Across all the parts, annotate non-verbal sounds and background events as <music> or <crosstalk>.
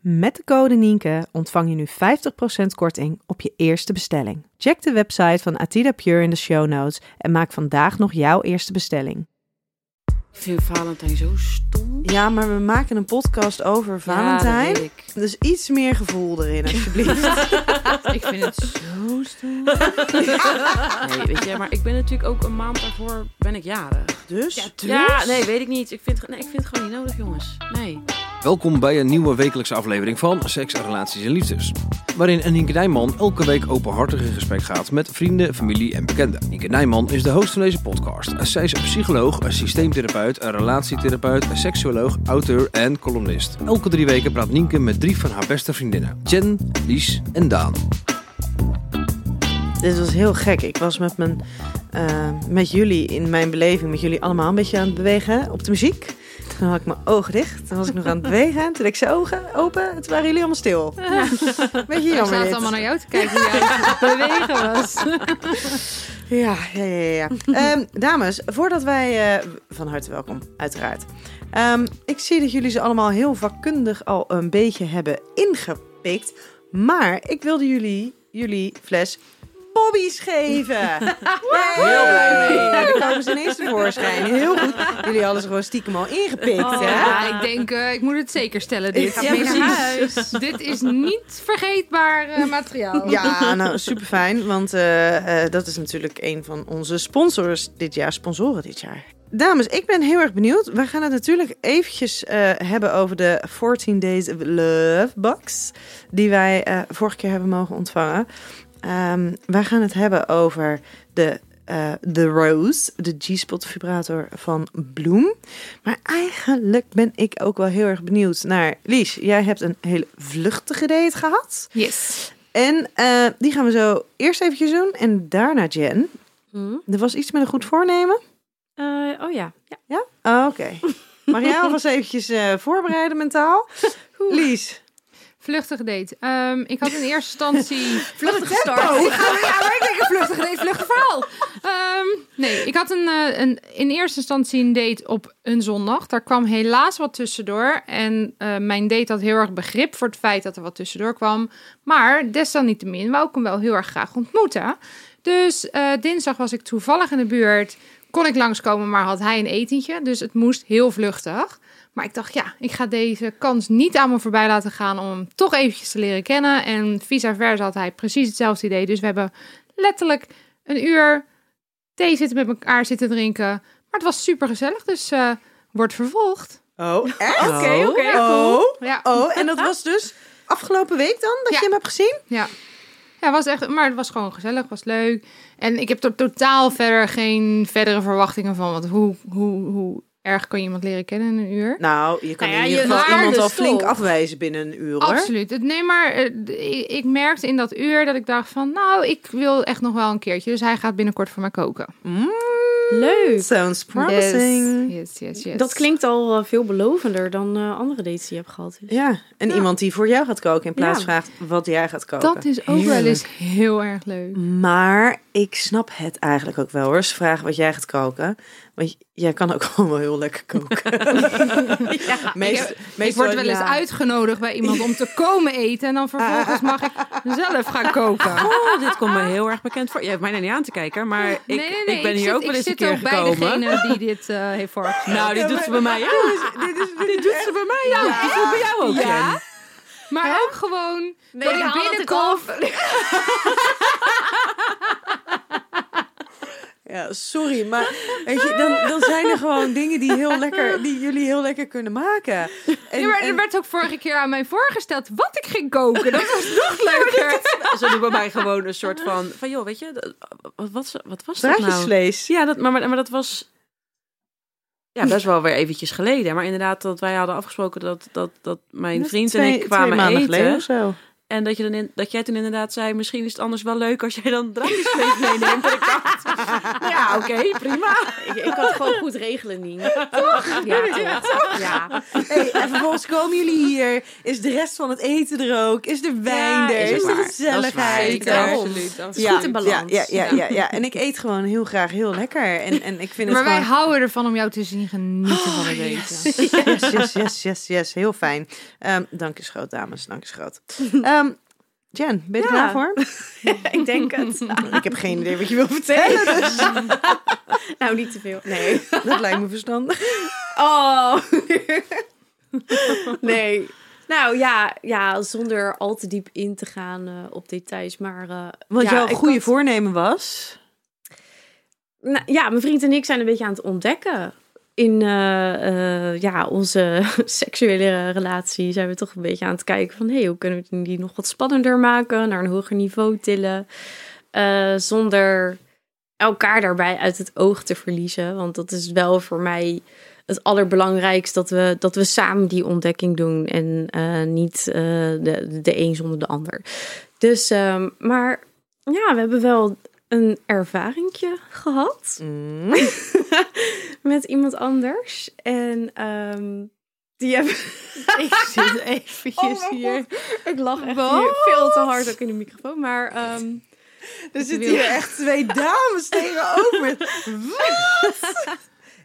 Met de code Nienke ontvang je nu 50% korting op je eerste bestelling. Check de website van Atida Pure in de show notes en maak vandaag nog jouw eerste bestelling. Ik vind Valentijn zo stom. Ja, maar we maken een podcast over Ja, Valentijn. dat weet ik. dus iets meer gevoel erin, alsjeblieft. <laughs> ik vind het zo stom. <laughs> nee, weet je, maar ik ben natuurlijk ook een maand daarvoor ben ik jarig. dus, Ja, nee, weet ik niet. Ik vind, het- nee, ik vind het gewoon niet nodig, jongens. Nee. Welkom bij een nieuwe wekelijkse aflevering van Seks, Relaties en Liefdes. Waarin Nienke Nijman elke week openhartig in gesprek gaat met vrienden, familie en bekenden. Nienke Nijman is de host van deze podcast. Zij is een psycholoog, een systeemtherapeut, een relatietherapeut, een seksuoloog, auteur en columnist. Elke drie weken praat Nienke met drie van haar beste vriendinnen. Jen, Lies en Daan. Dit was heel gek. Ik was met, mijn, eh, met jullie in mijn beleving, met jullie allemaal een beetje aan het bewegen op de muziek. Toen had ik mijn ogen dicht, toen was ik nog aan het bewegen. Toen deed ik zijn ogen open en toen waren jullie allemaal stil. Beetje Ik jammer zaten dit. allemaal naar jou te <laughs> kijken hoe jij aan het bewegen was. Ja, ja, ja. ja. Ehm, dames, voordat wij... eh, van harte welkom, uiteraard. Ehm, ik zie dat jullie ze allemaal heel vakkundig al een beetje hebben ingepikt. Maar ik wilde jullie, jullie fles bobby's geven. Heel blij mee. daar komen ze ineens tevoorschijn. Heel goed. Jullie hadden ze gewoon stiekem al ingepikt, Oh, hè? Oh, Ja, ik denk, eh, ik moet het zeker stellen. Dit, Ik ga Ja, mee naar precies. dit is niet vergeetbaar eh, <laughs> materiaal. Ja, nou super fijn, want eh, eh, dat is natuurlijk een van onze sponsors dit jaar, sponsoren dit jaar. Dames, ik ben heel erg benieuwd. We gaan het natuurlijk eventjes eh, hebben over de 14 Days of Love Box, die wij eh, vorige keer hebben mogen ontvangen. Ehm, wij gaan het hebben over de, eh de Rose, de G-spot vibrator van Bloem. Maar eigenlijk ben ik ook wel heel erg benieuwd naar... Lies, jij hebt een hele vluchtige date gehad. Yes. En eh, die gaan we zo eerst eventjes doen en daarna Jen. Er was iets met een goed voornemen. Hmm? Eh, oh ja. ja. Oh, Oké. Mag jij alvast eventjes eh, voorbereiden mentaal? Lies. Vluchtig date. Ehm, ik had in eerste <laughs> instantie... Vluchtig start. Ik ga ja, maar ik denk een vluchtig date, vluchtig verhaal. Ehm, nee, ik had een, eh, een, in eerste instantie een date op een zondag. Daar kwam helaas wat tussendoor. En eh, mijn date had heel erg begrip voor het feit dat er wat tussendoor kwam. Maar desalniettemin wou ik hem wel heel erg graag ontmoeten. Dus eh, dinsdag was ik toevallig in de buurt. Kon ik langskomen, maar had hij een etentje. Dus het moest heel vluchtig. Maar ik dacht, ja, ik ga deze kans niet aan me voorbij laten gaan om hem toch eventjes te leren kennen. En vice versa had hij precies hetzelfde idee. Dus we hebben letterlijk een uur thee zitten met elkaar zitten drinken. Maar het was super gezellig, dus eh, wordt vervolgd. Oh, echt? Oké, oké, Oh, Ja, oh, en dat was dus afgelopen week dan dat Ja. je hem hebt gezien? ja. Ja, was echt, maar het was gewoon gezellig, was leuk. En ik heb er totaal verder geen verdere verwachtingen van. Want hoe, hoe, hoe erg kan je iemand leren kennen in een uur? Nou, je kan Nou ja, in ieder je geval waarde iemand al is flink toch? afwijzen binnen een uur, hoor. Absoluut. Het- Nee, maar eh, d- ik, ik merkte in dat uur dat ik dacht van... nou, ik wil echt nog wel een keertje. Dus hij gaat binnenkort voor mij koken. Mm, Leuk. sounds promising. Yes, yes, yes. yes. Dat klinkt al eh, veelbelovender dan eh, andere dates die je hebt gehad. Ja, en iemand die voor jou gaat koken in plaats Ja. vraagt wat jij gaat koken. Mm. Dat is ook wel eens heel erg leuk. Maar ik snap het eigenlijk ook wel hoor. Ze vragen wat jij gaat koken. Want j- jij kan ook <laughs> gewoon wel heel lekker <laughs> koken. <laughs> Ja. Meest- ik, meestal- ik word wel eens ja. uitgenodigd bij iemand om te komen eten. En dan vervolgens mag ik zelf gaan koken. Oh, dit komt me heel erg bekend voor. Je hebt mij er niet aan te kijken, maar ik, ik ben hier zit, ook wel eens ik een zit keer ook bij gekomen. degene die dit eh, heeft voorgesteld. <laughs> Nou, dit doet ze bij mij. Ja. Dit, is, dit, Dit doet ze bij mij. Ja, Is dat bij jou ook, Jen? Maar ook gewoon Nee, dat ik haal het binnenkom. Ja, sorry, maar weet je, dan, dan zijn er gewoon dingen die, heel lekker, die jullie heel lekker kunnen maken. En, Ja, maar er en- werd ook vorige keer aan mij voorgesteld wat ik ging koken. Dat was nog leuker. <laughs> Ze doen bij mij gewoon een soort van... Van joh, weet je, dat- wat, wat, wat was dat nou? draadjesvlees. Ja, dat, maar, maar, maar dat was ja, best wel weer eventjes geleden. Maar inderdaad, dat wij hadden afgesproken dat, dat, dat mijn Dat is vriend en twee- ik kwamen twee maanden eten. geleden of zo. En dat, je dan in- dat jij toen inderdaad zei, misschien is het anders wel leuk als jij dan drankjesvlees meeneemt. En ik <laughs> dacht, ja, oké, prima. Ik, ik kan het gewoon goed regelen, Nien. Toch? Ja, echt. ja. Hey, en vervolgens komen jullie hier. Is de rest van het eten er ook? Is er wijn Ja, er? is Is, het de waar. gezelligheid Zeker. er? Absoluut, Dat is goed in balans. Ja, ja, ja, ja, ja. En ik eet gewoon heel graag heel lekker. En, en ik vind Maar het wij gewoon... Ah, houden ervan om jou te zien genieten <gasps> van het eten. Yes, <laughs> yes, yes, yes, yes. Heel fijn. Ehm, dank je schoot, dames. Dank je schoot. Ehm, Jen, ben je er klaar voor? <laughs> Ik denk het. Ik heb geen idee wat je wil vertellen, dus Nou, niet te veel. Nee. dat lijkt me verstandig. Oh. <laughs> nee. Nou ja, ja, zonder al te diep in te gaan eh, op details. Maar, eh, Wat ja, jouw ik goede had- voornemen was... Nou, ja, mijn vriend en ik zijn een beetje aan het ontdekken. In eh, eh, ja, onze <laughs> seksuele relatie zijn we toch een beetje aan het kijken van... hé, hey, hoe kunnen we die nog wat spannender maken, naar een hoger niveau tillen... eh, zonder elkaar daarbij uit het oog te verliezen. Want dat is wel voor mij het allerbelangrijkste... dat we, dat we samen die ontdekking doen en eh, niet eh, de, de een zonder de ander. Dus, ehm, maar ja, we hebben wel een ervaringje gehad <laughs> Mm. met iemand anders. En ehm, die hebben... ik zit eventjes hier. Ik lach echt hier veel te hard ook in de microfoon. Maar ehm, Er Dus zitten hier echt twee dames <laughs> tegenover. Dat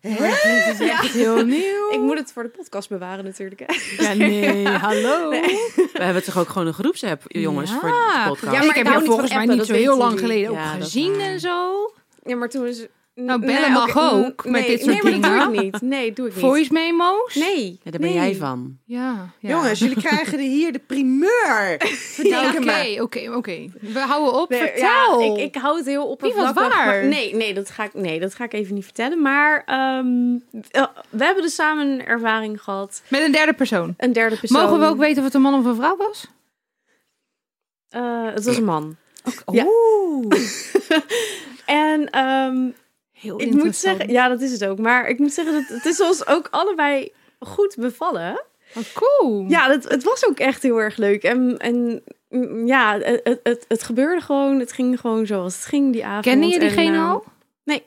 is dus echt heel nieuw. ik moet het voor de podcast bewaren natuurlijk. Hè. Ja, nee, hallo. <laughs> We hebben toch ook gewoon een groepsapp, jongens, voor de Ja. podcast. Ja, maar ik heb jou hou niet volgens van mij appen, niet zo dat heel weten lang jullie. geleden Ja, ook dat gezien en zo. Ja, maar toen is... Nou, bellen mag ook met dit soort nee, Nee, maar dat dingen. doe ik niet. Nee, doe ik niet. Voice memo's. Nee. Ja, daar ben nee. jij van. Nou, Ja. ja. Jongens, jullie krijgen er hier de primeur. Ja, Vertel Oké, me. oké, oké. We houden op. Nee, Vertel. Ja, ik, ik hou het heel oppervlakkig. Niet wat waar. maar- Nee, nee, dat ga ik, nee, dat ga ik even niet vertellen. Maar ehm, eh, we hebben dus samen een ervaring gehad. Met een derde persoon. Een derde persoon. Mogen we ook weten of het een man of een vrouw was? Eh, het was een man. Ja. en ehm, Heel ik moet zeggen... Ja, dat is het ook. Maar ik moet zeggen, dat het is ons ook allebei goed bevallen. Oh, cool. Ja, dat, het was ook echt heel erg leuk. En, en mm, ja, het, het, het gebeurde gewoon. Het ging gewoon zoals het ging die avond. Kende je En, diegene eh, al? nee.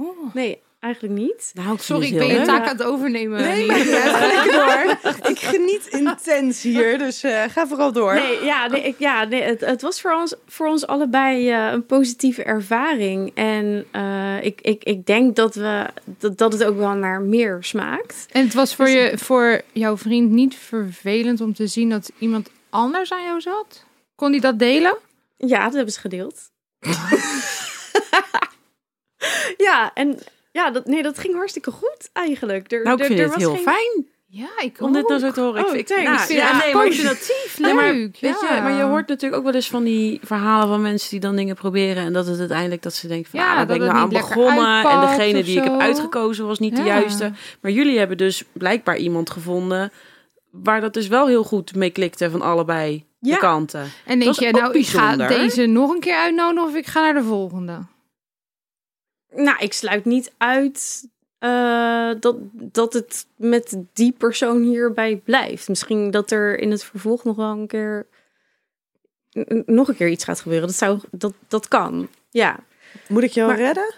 Oh. Nee, eigenlijk niet. Nou, ik Sorry, ik dus ben je leuk. taak aan het overnemen. Nee, hier. maar <laughs> ga lekker door. Ik geniet intens hier, dus eh, ga vooral door. Nee, ja, nee, ik, ja nee, het, het was voor ons, voor ons allebei eh, een positieve ervaring. En eh, ik, ik, ik denk dat, we, dat, dat het ook wel naar meer smaakt. En het was voor, je, voor jouw vriend niet vervelend om te zien dat iemand anders aan jou zat? Kon hij dat delen? Ja, dat hebben ze <laughs> gedeeld. ja, en ja, dat, nee, dat ging hartstikke goed eigenlijk. Er, Nou, ik er, vind er het was heel geen- fijn Ja, ik om dit nou zo te horen. Oh, ik vind, thanks. nou, Ik vind ja, het nee, maar ik vind dat leuk. <laughs> Nee, maar, ja. weet je, maar je hoort natuurlijk ook wel eens van die verhalen van mensen die dan dingen proberen en dat het uiteindelijk dat ze denken van Ja, ja, ah, daar ben ik dat nou aan het niet lekker begonnen en uitpakt degene of die ik heb zo. uitgekozen was niet de Ja. juiste. Maar jullie hebben dus blijkbaar iemand gevonden waar dat dus wel heel goed mee klikte van allebei Ja. de kanten. En denk was je, ook nou, ik ga bijzonder. deze nog een keer uitnodigen of ik ga naar de volgende? Nou, ik sluit niet uit eh, dat, dat het met die persoon hierbij blijft. Misschien dat er in het vervolg nog wel een keer. n- n- nog een keer iets gaat gebeuren. Dat, zou, dat, dat kan. Ja. Moet ik jou Maar- redden?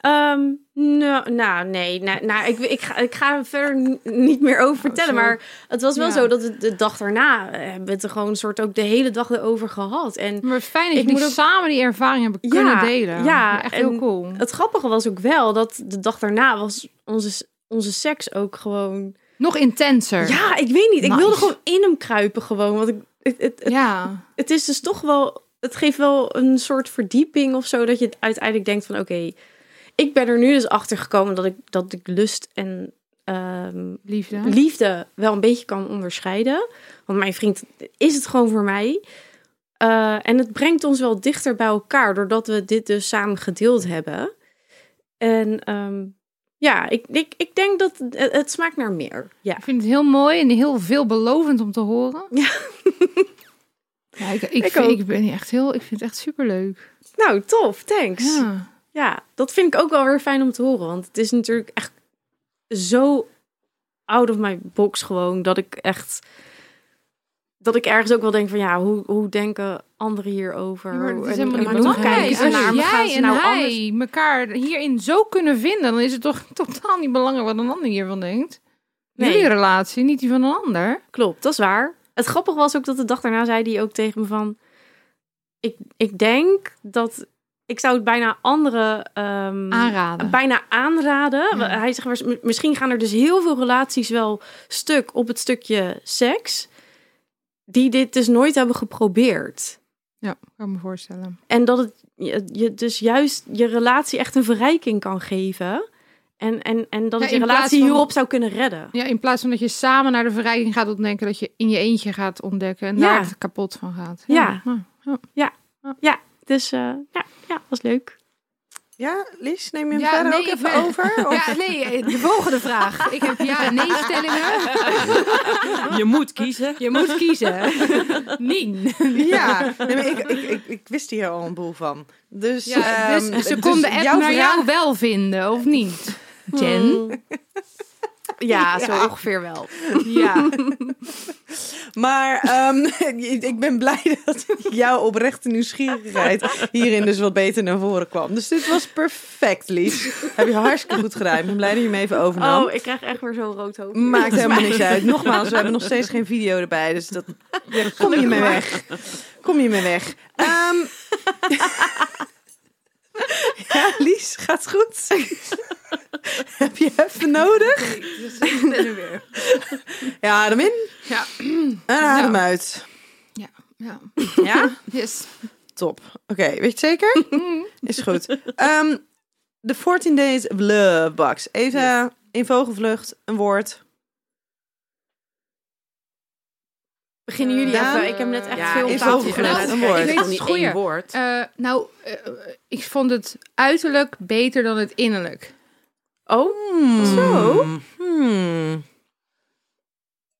Ehm, nou, nou, nee. Nou, nou, ik, ik, ga, ik ga er verder ni- niet meer over vertellen. zo. maar het was wel Ja. zo dat we de dag daarna eh, hebben we het er gewoon een soort ook de hele dag erover gehad. En Maar fijn dat Ik jullie moet ook- samen die ervaring hebben Ja, kunnen delen. ja, echt en- heel cool. het grappige was ook wel dat de dag daarna was onze, onze seks ook gewoon Nog intenser. Ja, ik weet niet. Ik Nice. wilde gewoon in hem kruipen gewoon. Want ik, het, het, het, Ja. het is dus toch wel... Het geeft wel een soort verdieping of zo. Dat je uiteindelijk denkt van... Oké, ik ben er nu dus achter gekomen dat ik, dat ik lust en eh, ehm, Liefde. liefde wel een beetje kan onderscheiden. Want mijn vriend is het gewoon voor mij. Eh, en het brengt ons wel dichter bij elkaar, doordat we dit dus samen gedeeld hebben. En ehm, ja, ik, ik, ik denk dat het, het smaakt naar meer. Ja. Ik vind het heel mooi en heel veelbelovend om te horen. Ja. Ja, <laughs> ik, ik, Ik vind- ook. ik ben echt heel, ik vind het echt superleuk. Nou, tof, thanks. Ja. Ja. dat vind ik ook wel weer fijn om te horen. Want het is natuurlijk echt zo out of my box gewoon, dat ik echt... Dat ik ergens ook wel denk van ja, hoe, hoe denken anderen hierover? Ja, maar dat is En- helemaal en niet hoe kijken belangrijk. ze naar Als me? Gaan jij ze en nou anders hij elkaar hierin zo kunnen vinden, dan is het toch <laughs> totaal niet belangrijk wat een ander hiervan denkt. Nee. Jullie relatie, niet die van een ander. Klopt, dat is waar. Het grappige was ook dat de dag daarna zei hij ook tegen me van... Ik, ik denk dat... Ik zou het bijna anderen... ehm, Aanraden. Bijna aanraden. Ja. Hij zegt, "Waars- misschien gaan er dus heel veel relaties wel stuk op het stukje seks... die dit dus nooit hebben geprobeerd. Ja, kan ik me voorstellen. En dat het je, je dus juist je relatie echt een verrijking kan geven... En, en, en dat Ja, het je in plaats relatie van- hierop zou kunnen redden. Ja, in plaats van dat je samen naar de verrijking gaat ontdekken, dat je in je eentje gaat ontdekken en Ja. daar het kapot van gaat. Ja. ja. Nou. Dus eh, ja, ja, was leuk. Ja, Lies, neem je hem Ja, verder nee, ook ik even ben- over? Of- <laughs> Ja, nee, eh, de volgende vraag. Ik heb ja en nee stellingen. Je moet kiezen. Je moet kiezen. Nien. Ja, nee, maar ik, ik, ik, ik wist hier al een boel van. Dus, Ja, ehm, dus Hmm. ze konden dus app jouw naar vraag- jou wel vinden, of niet? Jen? Mm. Ja, zo ongeveer wel. Ja. maar ehm, <laughs> ik ben blij <laughs> dat jouw oprechte nieuwsgierigheid hierin dus wat beter naar voren kwam. Dus dit was perfect, Lies. Heb je hartstikke goed gedaan. Ik ben blij dat je hem even overnam. Oh, ik krijg echt weer zo'n rood hoofd. <laughs> Maakt helemaal niks uit. Nogmaals, we hebben nog steeds geen video erbij. Dus dat, ja, kom je mee weg. Kom je mee weg. Ehm, <laughs> ja, Lies, gaat goed? Heb je even nodig? Ja, adem in Ja. en adem Ja. uit. ja. <laughs> Ja? Yes. Top. Oké, weet je het zeker? Is goed. Ehm, De 14 Days of Love Box. Even in vogelvlucht een woord. Beginnen jullie Ja. even? Ik heb net echt veel is fout overgelegd. gedaan. Een woord. Ik weet Ik weet het het niet goeie. één woord. <laughs> Eh, nou, eh, eh, ik vond het uiterlijk beter dan het innerlijk. Oh, Zo? Hmm.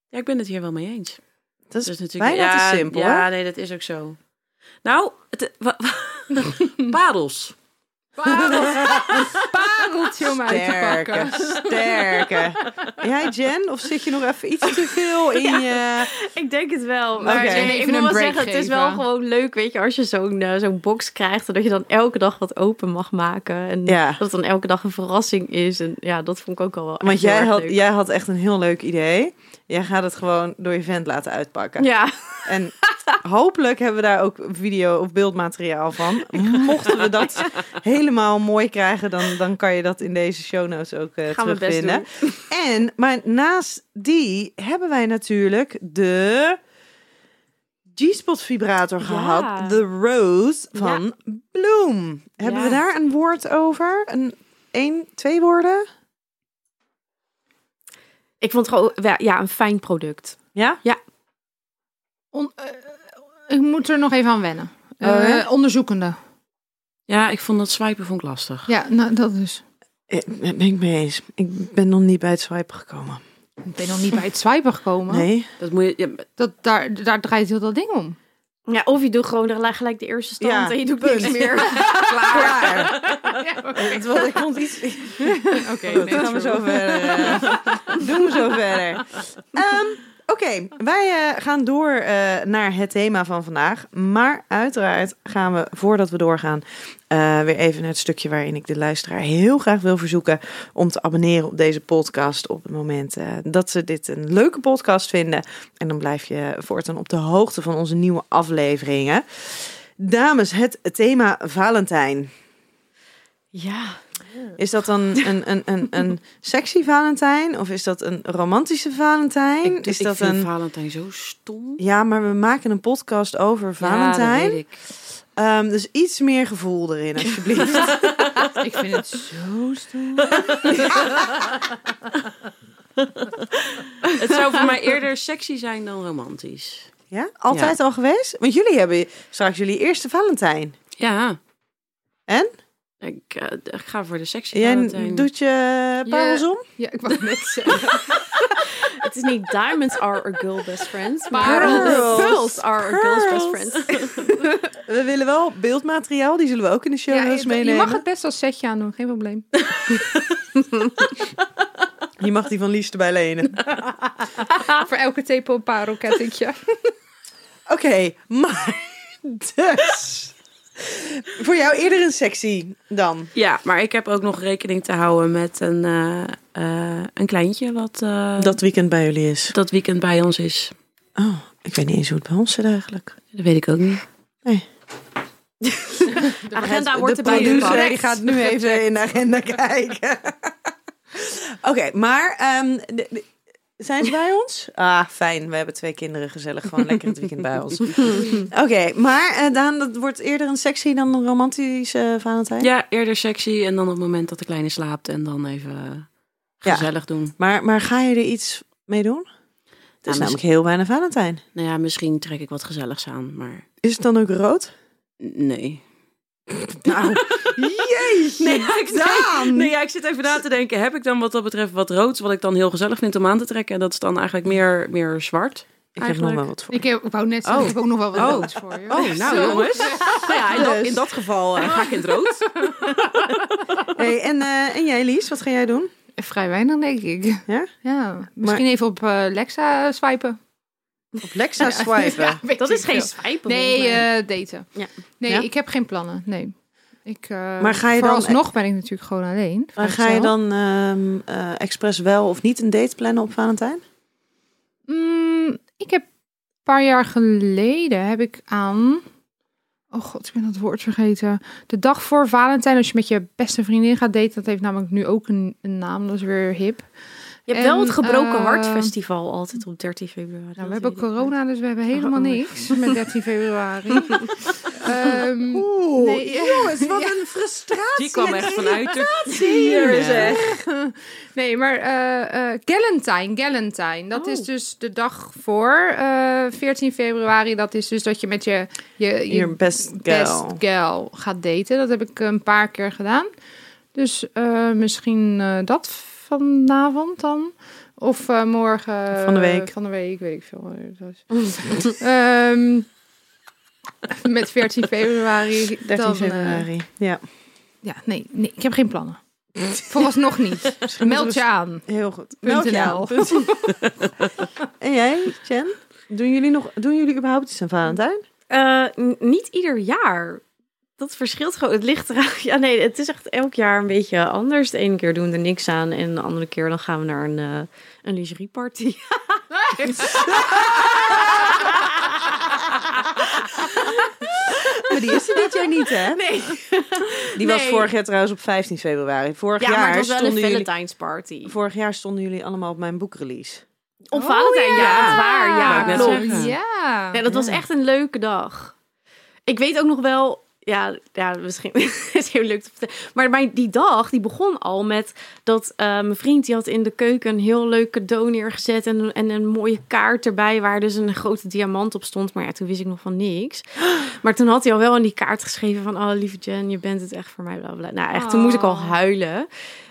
Ja, ik ben het hier wel mee eens. Dat is Dat is natuurlijk bijna ja, te simpel, Ja, hè? nee, dat is ook zo. Nou, het, wa- wa- <laughs> parels. Pareltje om uit te Sterke, pakken. sterke. Jij, Jen, of zit je nog even iets te veel in je... ik denk het wel. Maar Oké. nee, ik Even moet een wel break zeggen, het is wel geven. gewoon leuk, weet je, als je zo'n eh, zo'n box krijgt, en dat je dan elke dag wat open mag maken. En Ja. dat het dan elke dag een verrassing is. En ja, dat vond ik ook al wel. echt Want heel jij erg had, leuk. jij had echt een heel leuk idee. Jij gaat het gewoon door je vent laten uitpakken. Ja, En hopelijk hebben we daar ook video of beeldmateriaal <laughs> van. Mochten we dat helemaal mooi krijgen, dan, dan kan je dat in deze show notes ook eh gaan we best terugvinden. doen. <laughs> En, maar naast die hebben wij natuurlijk de G-spot vibrator Ja. gehad. De Rose van Bloom. Hebben Ja. we daar een woord over? Een, één, twee woorden? Ik vond het gewoon wel- ja, een fijn product. Ja? On- eh, ik moet er nog even aan wennen. Eh, Oh, ja? onderzoekende. Ja, ik vond dat swipen vond ik lastig. Ja, nou, dat is. Ik ben ik mee eens. Ik ben nog niet bij het swipen gekomen. Ik ben nog niet bij het swipen gekomen. Nee. Dat moet je, ja, Dat, daar, daar draait heel dat ding om. Ja, of je doet gewoon de- gelijk de eerste stand Ja, en je doet punt. niks <laughs> meer. Klaar. Ja, oké. Het was, Ah, ik vond iets. nee, Goed, gaan we true. zo verder. eh, <laughs> Doen we zo verder. Ehm, Oké, wij eh, gaan door eh, naar het thema van vandaag. Maar uiteraard gaan we, voordat we doorgaan, eh, weer even naar het stukje waarin ik de luisteraar heel graag wil verzoeken om te abonneren op deze podcast op het moment eh, dat ze dit een leuke podcast vinden. En dan blijf je voortaan op de hoogte van onze nieuwe afleveringen. Dames, het thema Valentijn. Ja, Is dat dan een, een, een, een sexy Valentijn? Of is dat een romantische Valentijn? ik, is ik dat vind een. Valentijn zo stom. Ja, maar we maken een podcast over Valentijn. Ja, dat weet ik. Ehm, dus iets meer gevoel <laughs> erin, alsjeblieft. Ik vind het zo stom. Het zou voor mij <laughs> eerder sexy zijn dan romantisch. Ja? Altijd al geweest? Want jullie hebben straks jullie eerste Valentijn. Ja. En? Ik, eh, ik ga voor de sexy Jij Valentijn. doet je parels Je- om? Ja, ik wou net zeggen. Het is niet diamonds are a girl best friends, maar Pearls. pearls are a girl's best friends. We willen wel beeldmateriaal, die zullen we ook in de show Ja, notes je, je meenemen. mag het best als setje aan doen, geen <laughs> probleem. Je mag die van Lies erbij lenen. Voor elke tepel een parelkettingje. <laughs> Oké, maar <laughs> dus. Voor jou eerder een sexy dan. Ja, maar ik heb ook nog rekening te houden met een, eh, eh, een kleintje wat eh, dat... Dat weekend bij jullie is. dat weekend bij ons is. Oh, ik weet niet eens hoe het bij ons zit eigenlijk. Dat weet ik ook niet. De agenda wordt de erbij producer gepakt. die gaat nu even in de <laughs> agenda kijken. Oké, maar ehm, de- de- zijn ze bij ons? <laughs> Ah, fijn. We hebben twee kinderen gezellig gewoon lekker het weekend bij <laughs> ons. Oké, maar eh, Daan, dat wordt eerder een sexy dan een romantische eh, Valentijn. Ja, eerder sexy en dan op het moment dat de kleine slaapt en dan even eh, Ja. gezellig doen. Maar, maar ga je er iets mee doen? Het is misschien- namelijk heel weinig Valentijn. Nou ja, misschien trek ik wat gezelligs aan, maar Is het dan ook rood? n- nee. <laughs> Nou, jeetje, Nee, ja, ik, Daan! nee ja, ik zit even na te denken. Heb ik dan wat dat betreft wat roods, wat ik dan heel gezellig vind om aan te trekken? En dat is dan eigenlijk meer, meer zwart. Ik heb nog wel wat voor. Ik, heb- ik wou net zeggen, Oh. ik heb ook nog wel wat Oh. leuks voor je. Oh, nou jongens. Nou ja, in, Dus- dat, in dat geval eh, ga ik in het rood. Hey, en, eh, en jij, Lies, wat ga jij doen? Vrij weinig, denk ik. Ja? Ja. Misschien even op eh, Lexa swipen. Op <laughs> Lexa swipen. <laughs> Ja, weet Dat ik is geen veel. swipen. Nee, volgens mij. eh, daten. Ja. Nee, Ja? ik heb geen plannen. Nee. Ik, eh Maar ga je dan- vooralsnog ben ik natuurlijk gewoon alleen. Maar ga je dan ehm, eh, expres wel of niet een date plannen op Valentijn? Mm, ik heb een paar jaar geleden heb ik aan. Oh god, ik ben dat woord vergeten. De dag voor Valentijn, als je met je beste vriendin gaat daten, dat heeft namelijk nu ook een, een naam. Dat is weer hip. je hebt wel en, het Gebroken eh, Hart Festival altijd op 13 februari. Nou, Dat we hebben weet ik. corona, dus we hebben helemaal Oh. niks met 13 februari. <laughs> Ehm, Oeh, nee. jongens, <laughs> wat een frustratie. <laughs> Die kwam echt vanuit de hier, eh, zeg. Nee, maar eh eh Galentine, Galentine. Dat Oh. is dus de dag voor eh, 14 februari. Dat is dus dat je met je, je, je Your best girl. best girl gaat daten. Dat heb ik eh, een paar keer gedaan. Dus eh, misschien eh, dat vanavond dan. Of eh, morgen. Van de week. Van de week, weet ik veel. wanneer het was. <laughs> Ehm, met 14 <laughs> februari. 13 dan, eh, februari. ja, ja, nee, nee, ik heb geen plannen. Vooralsnog <laughs> niet. Meld je aan. heel goed. Punt Melkjaal. <laughs> en jij, Jen? Doen jullie, nog, doen jullie überhaupt iets aan Valentijn? Eh, n- niet ieder jaar. Dat verschilt gewoon. Het ligt eraan. <laughs> Ja, nee, het is echt elk jaar een beetje anders. De ene keer doen we er niks aan en de andere keer dan gaan we naar een, eh een lingerieparty. <laughs> Maar die is er dit jaar niet, hè? Nee, Die was Nee. vorig jaar trouwens op 15 februari. Vorig, ja, maar jaar, het was wel een stonden jullie, Valentine's party. vorig jaar stonden jullie allemaal op mijn boekrelease. Op Valentijn, Oh, ja. dat is waar. Wou Ja, ik net klopt. zeggen. Ja. Nee, dat was echt een leuke dag. Ik weet ook nog wel, ja, ja misschien <laughs> is heel leuk te vertellen. Maar mijn, die dag, die begon al met dat eh, mijn vriend, die had in de keuken een heel leuk cadeau neergezet. En, en een mooie kaart erbij, waar dus een grote diamant op stond. Maar ja, toen wist ik nog van niks. <gasps> Maar toen had hij al wel in die kaart geschreven van, oh lieve Jen, je bent het echt voor mij. Bla, bla. Nou echt, toen moest ik al Oh. huilen.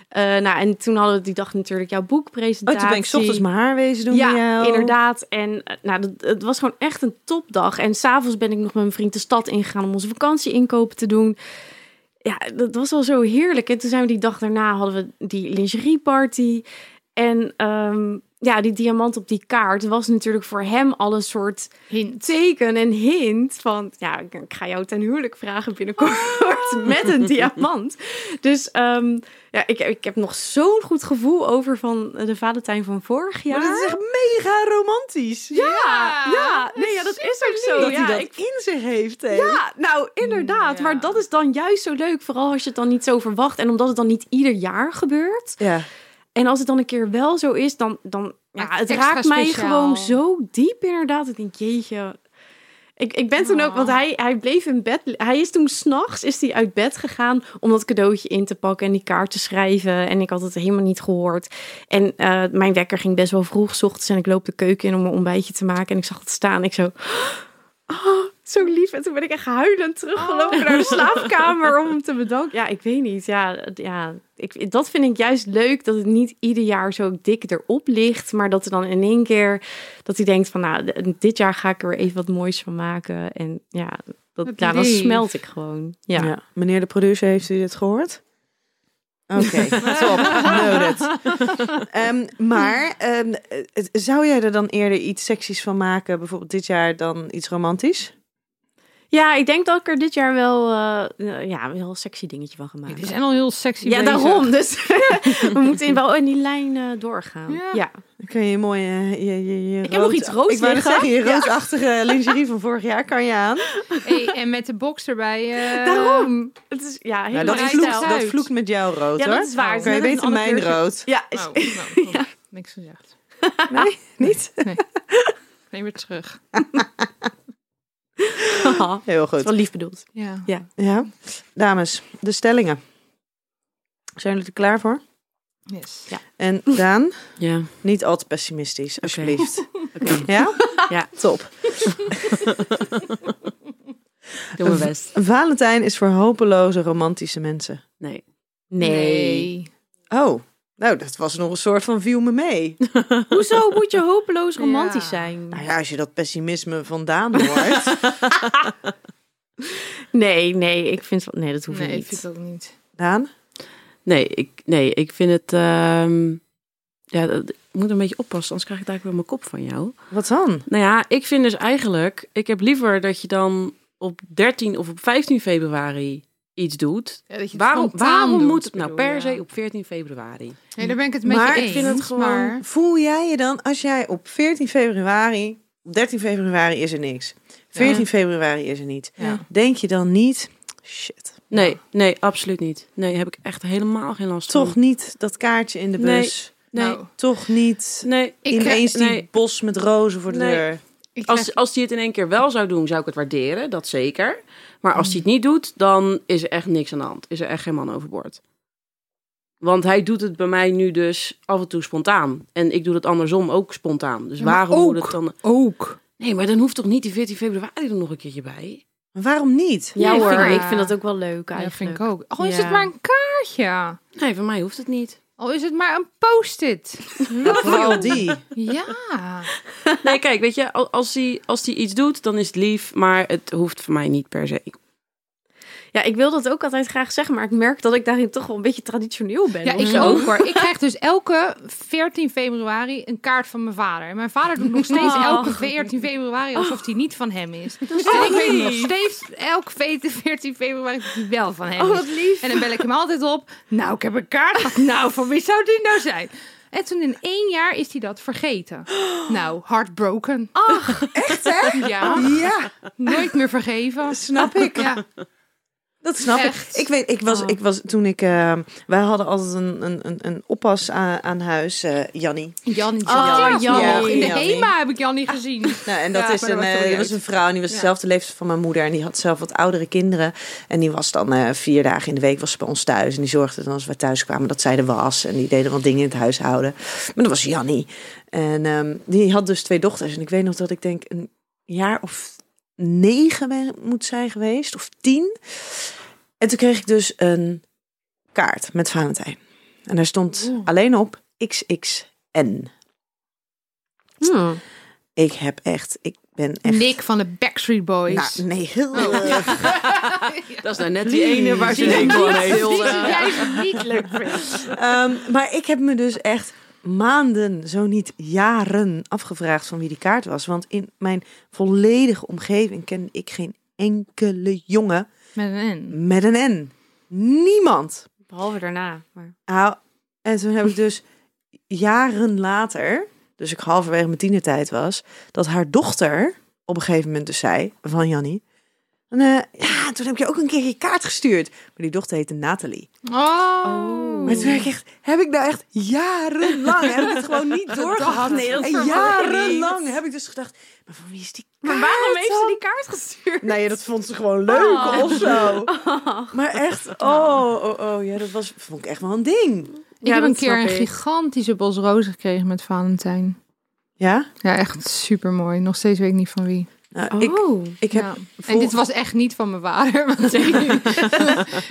Eh, nou, en toen hadden we die dag natuurlijk jouw Oh, boekpresentatie. toen ben ik 's ochtends mijn haar wezen doen Ja, bij jou. inderdaad. En eh, nou, dat, het was gewoon echt een topdag. En s'avonds ben ik nog met mijn vriend de stad ingegaan om onze vakantieinkopen te doen. Ja, dat was al zo heerlijk. En toen zijn we die dag daarna hadden we die lingerieparty. En ehm, ja, die diamant op die kaart was natuurlijk voor hem al een soort Hint. teken en hint van... ja, ik, ik ga jou ten huwelijk vragen binnenkort Ah. met een diamant. Dus ehm, ja, ik, ik heb nog zo'n goed gevoel over van de Valentijn van vorig jaar. Maar dat is echt mega romantisch. Ja, ja. Nee, ja, dat is ook zo. dat ja, hij dat ik- in zich heeft. hè? ja, nou inderdaad. Maar dat is dan juist zo leuk. Vooral als je het dan niet zo verwacht. En omdat het dan niet ieder jaar gebeurt. Ja. En als het dan een keer wel zo is, dan... dan ja, Maakt het het extra raakt mij speciaal. gewoon zo diep inderdaad. Ik denk, jeetje... Ik, ik ben toen Oh. ook, want hij, hij bleef in bed. Hij is toen s'nachts is hij uit bed gegaan om dat cadeautje in te pakken en die kaart te schrijven. En ik had het helemaal niet gehoord. En eh, mijn wekker ging best wel vroeg 's ochtends en ik loop de keuken in om mijn ontbijtje te maken. En ik zag het staan. Ik zo, <gasps> oh, zo lief. En toen ben ik echt huilend Oh. teruggelopen naar de slaapkamer om hem te bedanken. Ja, ik weet niet. Ja, het- ja ik, dat vind ik juist leuk dat het niet ieder jaar zo dik erop ligt. Maar dat er dan in één keer dat hij denkt van nou, d- dit jaar ga ik er weer even wat moois van maken. En ja, dat, Wat ja dan lief. smelt ik gewoon. Ja. Ja. Meneer de producer, heeft u dit gehoord? Oké, <laughs> top. Noted. Ehm, maar ehm, eh, zou jij er dan eerder iets seksies van maken? Bijvoorbeeld dit jaar dan iets romantisch? ja, ik denk dat ik er dit jaar wel, eh, ja, wel een sexy dingetje van ga maken. Het is en al heel sexy Ja, bezig. <laughs> daarom. Dus <laughs> we moeten in, wel in die lijn eh, doorgaan. Ja. ja. Dan kun je mooi eh, je, je, je Ik heb nog iets roods Ik wou net liggen. zeggen, je roodachtige <laughs> lingerie van vorig jaar kan je aan. Hey, en met de box erbij. eh, Daarom. Het is ja, heel Nou, dat, Hij vloekt, stelt dat uit. vloekt met jou rood, Ja, hoor. dat is waar. Het is Kan je net een beter ander mijn kleurtje. rood? <laughs> Ja, is- <laughs> Oh, <laughs> nou, kom, niks gezegd. Niet? Neem weer <laughs> terug. het Heel is goed. wel lief bedoeld. Ja. Ja, dames, de stellingen. Zijn jullie er klaar voor? Yes. En Daan, Ja. niet al te pessimistisch, <laughs> alsjeblieft. Oké. Ja? Ja. Top. Doe mijn best. Valentijn is voor hopeloze romantische mensen. Nee. Oh, nou, dat was nog een soort van viel me mee. Hoezo moet je hopeloos romantisch Ja. <laughs> zijn? Nou ja, als je dat pessimisme vandaan <laughs> hoort. Nee, nee, ik vind van nee, dat hoeft Nee, ik niet. vind dat ook niet. Daan? Nee, ik, nee, ik vind het... ehm, ja, dat- ik moet een beetje oppassen, anders krijg ik daar weer mijn kop van jou. Wat dan? Nou ja, ik vind dus eigenlijk... Ik heb liever dat je dan op 13 of op 15 februari iets doet. Ja, dat je het Waarom, spontaan waarom doet, moet het nou bedoel, per ja. se op 14 februari? Nee, daar ben ik het met Maar je ik eens. vind het gewoon- maar- Voel jij je dan als jij op 14 februari... Op 13 februari is er niks. 14 februari is er niet. Ja. Denk je dan niet... Shit. Nee, nee, absoluut niet. Nee, heb ik echt helemaal geen last Toch van. niet dat kaartje in de Hmm. Nee. bus. Nee, Nou, Toch niet nee. ik krijg- ineens die nee. bos met rozen voor de Nee. deur. ik krijg- Als, als hij het in één keer wel zou doen, zou ik het waarderen, dat zeker. Maar als hij het niet doet, dan is er echt niks aan de hand. Is er echt geen man overboord. Want hij doet het bij mij nu dus af en toe spontaan. En ik doe het andersom ook spontaan. Dus Ja, maar waarom moet ook. het dan... ook. Nee, maar dan hoeft toch niet die 14 februari er nog een keertje bij? Maar waarom niet? Ja Nee, hoor, vind ik- ik vind dat ook wel leuk Ja, vind eigenlijk. ik ook. Al is Ja. het maar een kaartje. Nee, voor mij hoeft het niet. Al is het maar een <laughs> post-it. Vooral die. Ja. Nee, kijk, weet je, al- als hij, als hij iets doet, dan is het lief. Maar het hoeft voor mij niet per se. Ja, ik wil dat ook altijd graag zeggen, maar ik merk dat ik daarin toch wel een beetje traditioneel ben. Ja, of ik zo. ook hoor. Ik krijg dus elke 14 februari een kaart van mijn vader. En mijn vader doet nog steeds Oh. elke 14 februari alsof die niet van hem is. En ik weet nog steeds elke 14 februari dat die wel van hem Oh, is. wat lief. En dan bel ik hem altijd op. Nou, ik heb een kaart. Nou, van wie zou die nou zijn? En toen in één jaar is hij dat vergeten. Nou, heartbroken. Echt, hè? Ja, Ja, nooit meer vergeven. snap ik. Ja, Dat snap Echt. ik. Ik weet, ik was, Oh. ik was toen ik. eh, wij hadden altijd een, een, een, een oppas aan, aan huis, eh Jannie. Jan is Oh, Jan is Jan. nog. In de Jan. HEMA heb ik Jan niet gezien. Nou, en dat Ja, is een, maar dat eh, maakt helemaal dat niet was een vrouw en die was Ja. dezelfde leeftijd van mijn moeder. En die had zelf wat oudere kinderen. En die was dan eh, vier dagen in de week was ze bij ons thuis. En die zorgde dan als we thuis kwamen dat zij er was. En die deden wat dingen in het huishouden. Maar dat was Jannie. En ehm, die had dus twee dochters. En ik weet nog dat ik denk een jaar of negen ben- moet zijn geweest. Of tien. En toen kreeg ik dus een kaart met Valentijn. En daar stond alleen op XXN. Hmm. Ik heb echt, ik ben echt... Nick van de Backstreet Boys. Nou, nee, heel... Dat is nou net Oh, die ene waar ze <laughs> denkt van Die heel... eh, <laughs> jij ze niet leuk vindt. Ehm, maar ik heb me dus echt maanden, zo niet jaren, afgevraagd van wie die kaart was. Want in mijn volledige omgeving kende ik geen enkele jongen Met een N. met een N. Niemand. Behalve daarna. Maar... Nou, en toen heb ik dus jaren later, dus ik halverwege mijn tienertijd was, dat haar dochter op een gegeven moment dus zei van Jannie, En, eh, ja, toen heb ik je ook een keer je kaart gestuurd. Maar die dochter heette Nathalie. Oh. Maar toen heb ik echt, heb ik nou echt jarenlang, heb ik het <laughs> gewoon niet doorgehad. nee, dat en verwacht je jarenlang heb ik dus gedacht, maar van wie is die kaart Maar waarom heeft ze dan? die kaart gestuurd? Nee, dat vond ze gewoon leuk Oh. of <laughs> zo. Maar echt, oh, oh, oh, ja, dat was, vond ik echt wel een ding. Ik heb een keer een gigantische bos rozen gekregen met Valentijn. Ja? Ja, echt super mooi. Nog steeds weet ik niet van wie. Nou, ik, Oh. ik heb Ja. En vol- dit was echt niet van mijn vader. <laughs> want-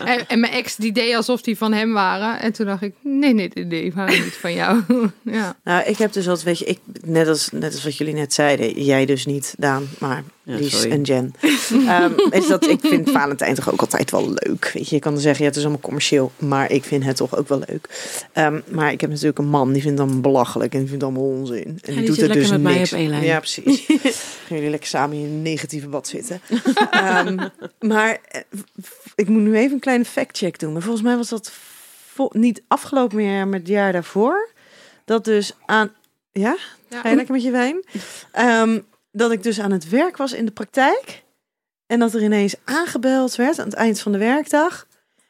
en, en mijn ex die deed alsof die van hem waren. En toen dacht ik, nee, nee, nee, nee, die waren niet van jou. <laughs> ja. Nou, ik heb dus altijd, weet je, ik, net, als, net als wat jullie net zeiden, jij dus niet, Daan, maar Ja, Lies sorry. en <laughs> Jen. Ehm, is dat, ik vind Valentijn toch ook altijd wel leuk. Weet je, je kan dan zeggen, ja, het is allemaal commercieel, maar ik vind het toch ook wel leuk. Ehm, maar ik heb natuurlijk een man, die vindt dan belachelijk en die vindt allemaal onzin. En die, die doet zit er dus lekker met mij niks. op één lijn. Ja, precies. Gaan jullie lekker samen in een negatieve bad zitten. <laughs> Ehm, maar eh, v- ik moet nu even een kleine fact-check doen. Maar volgens mij was dat vo- niet afgelopen meer, maar het jaar daarvoor. Dat dus aan... Ja? Ga je lekker met je wijn? Ehm, dat ik dus aan het werk was in de praktijk. En dat er ineens aangebeld werd aan het eind van de werkdag.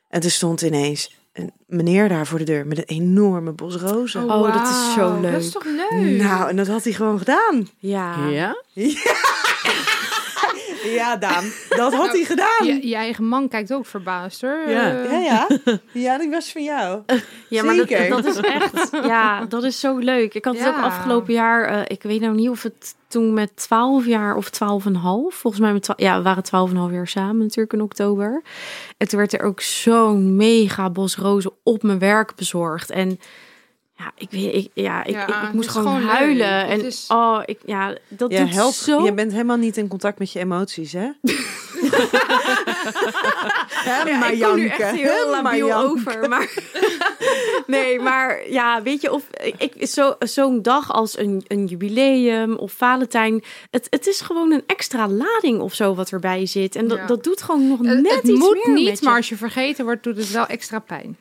En er stond ineens een meneer daar voor de deur met een enorme bos rozen. Oh, dat is zo wauw, Dat is leuk. toch leuk? Nou, en dat had hij gewoon gedaan. Ja. <laughs> Ja? Ja, Daan, dat had hij gedaan. Je, je eigen man kijkt ook verbaasd hoor. Ja. Eh, Ja, ja. Ja, die was van jou. Ja, maar dat, Zeker. dat is echt. Ja, dat is zo leuk. Ik had het Ja. ook afgelopen jaar. eh, ik weet nou niet of het toen met 12 jaar of 12 en half. Volgens mij met 12 ja, we waren 12 en half jaar samen natuurlijk in oktober. En toen werd er ook zo'n mega bos rozen op mijn werk bezorgd. En ja, ik weet, ik, ja, ik, Ja, ik, ik het moest is gewoon gewoon leuk. huilen. Het En is- oh, ik, ja, dat Je, doet helpt, zo. je bent helemaal niet in contact met je emoties, <laughs> hè? Hè, Ja, maar ik kom nu janken. echt Hè, heel maar labiel janken. over. Maar, <laughs> nee, maar ja, weet je, of ik, zo, zo'n dag als een, een jubileum of Valentijn. Het, het is gewoon een extra lading of zo wat erbij zit. En dat, Ja. dat doet gewoon nog het- net het iets moet meer niet, met je. maar als je vergeten wordt, doet het wel extra pijn.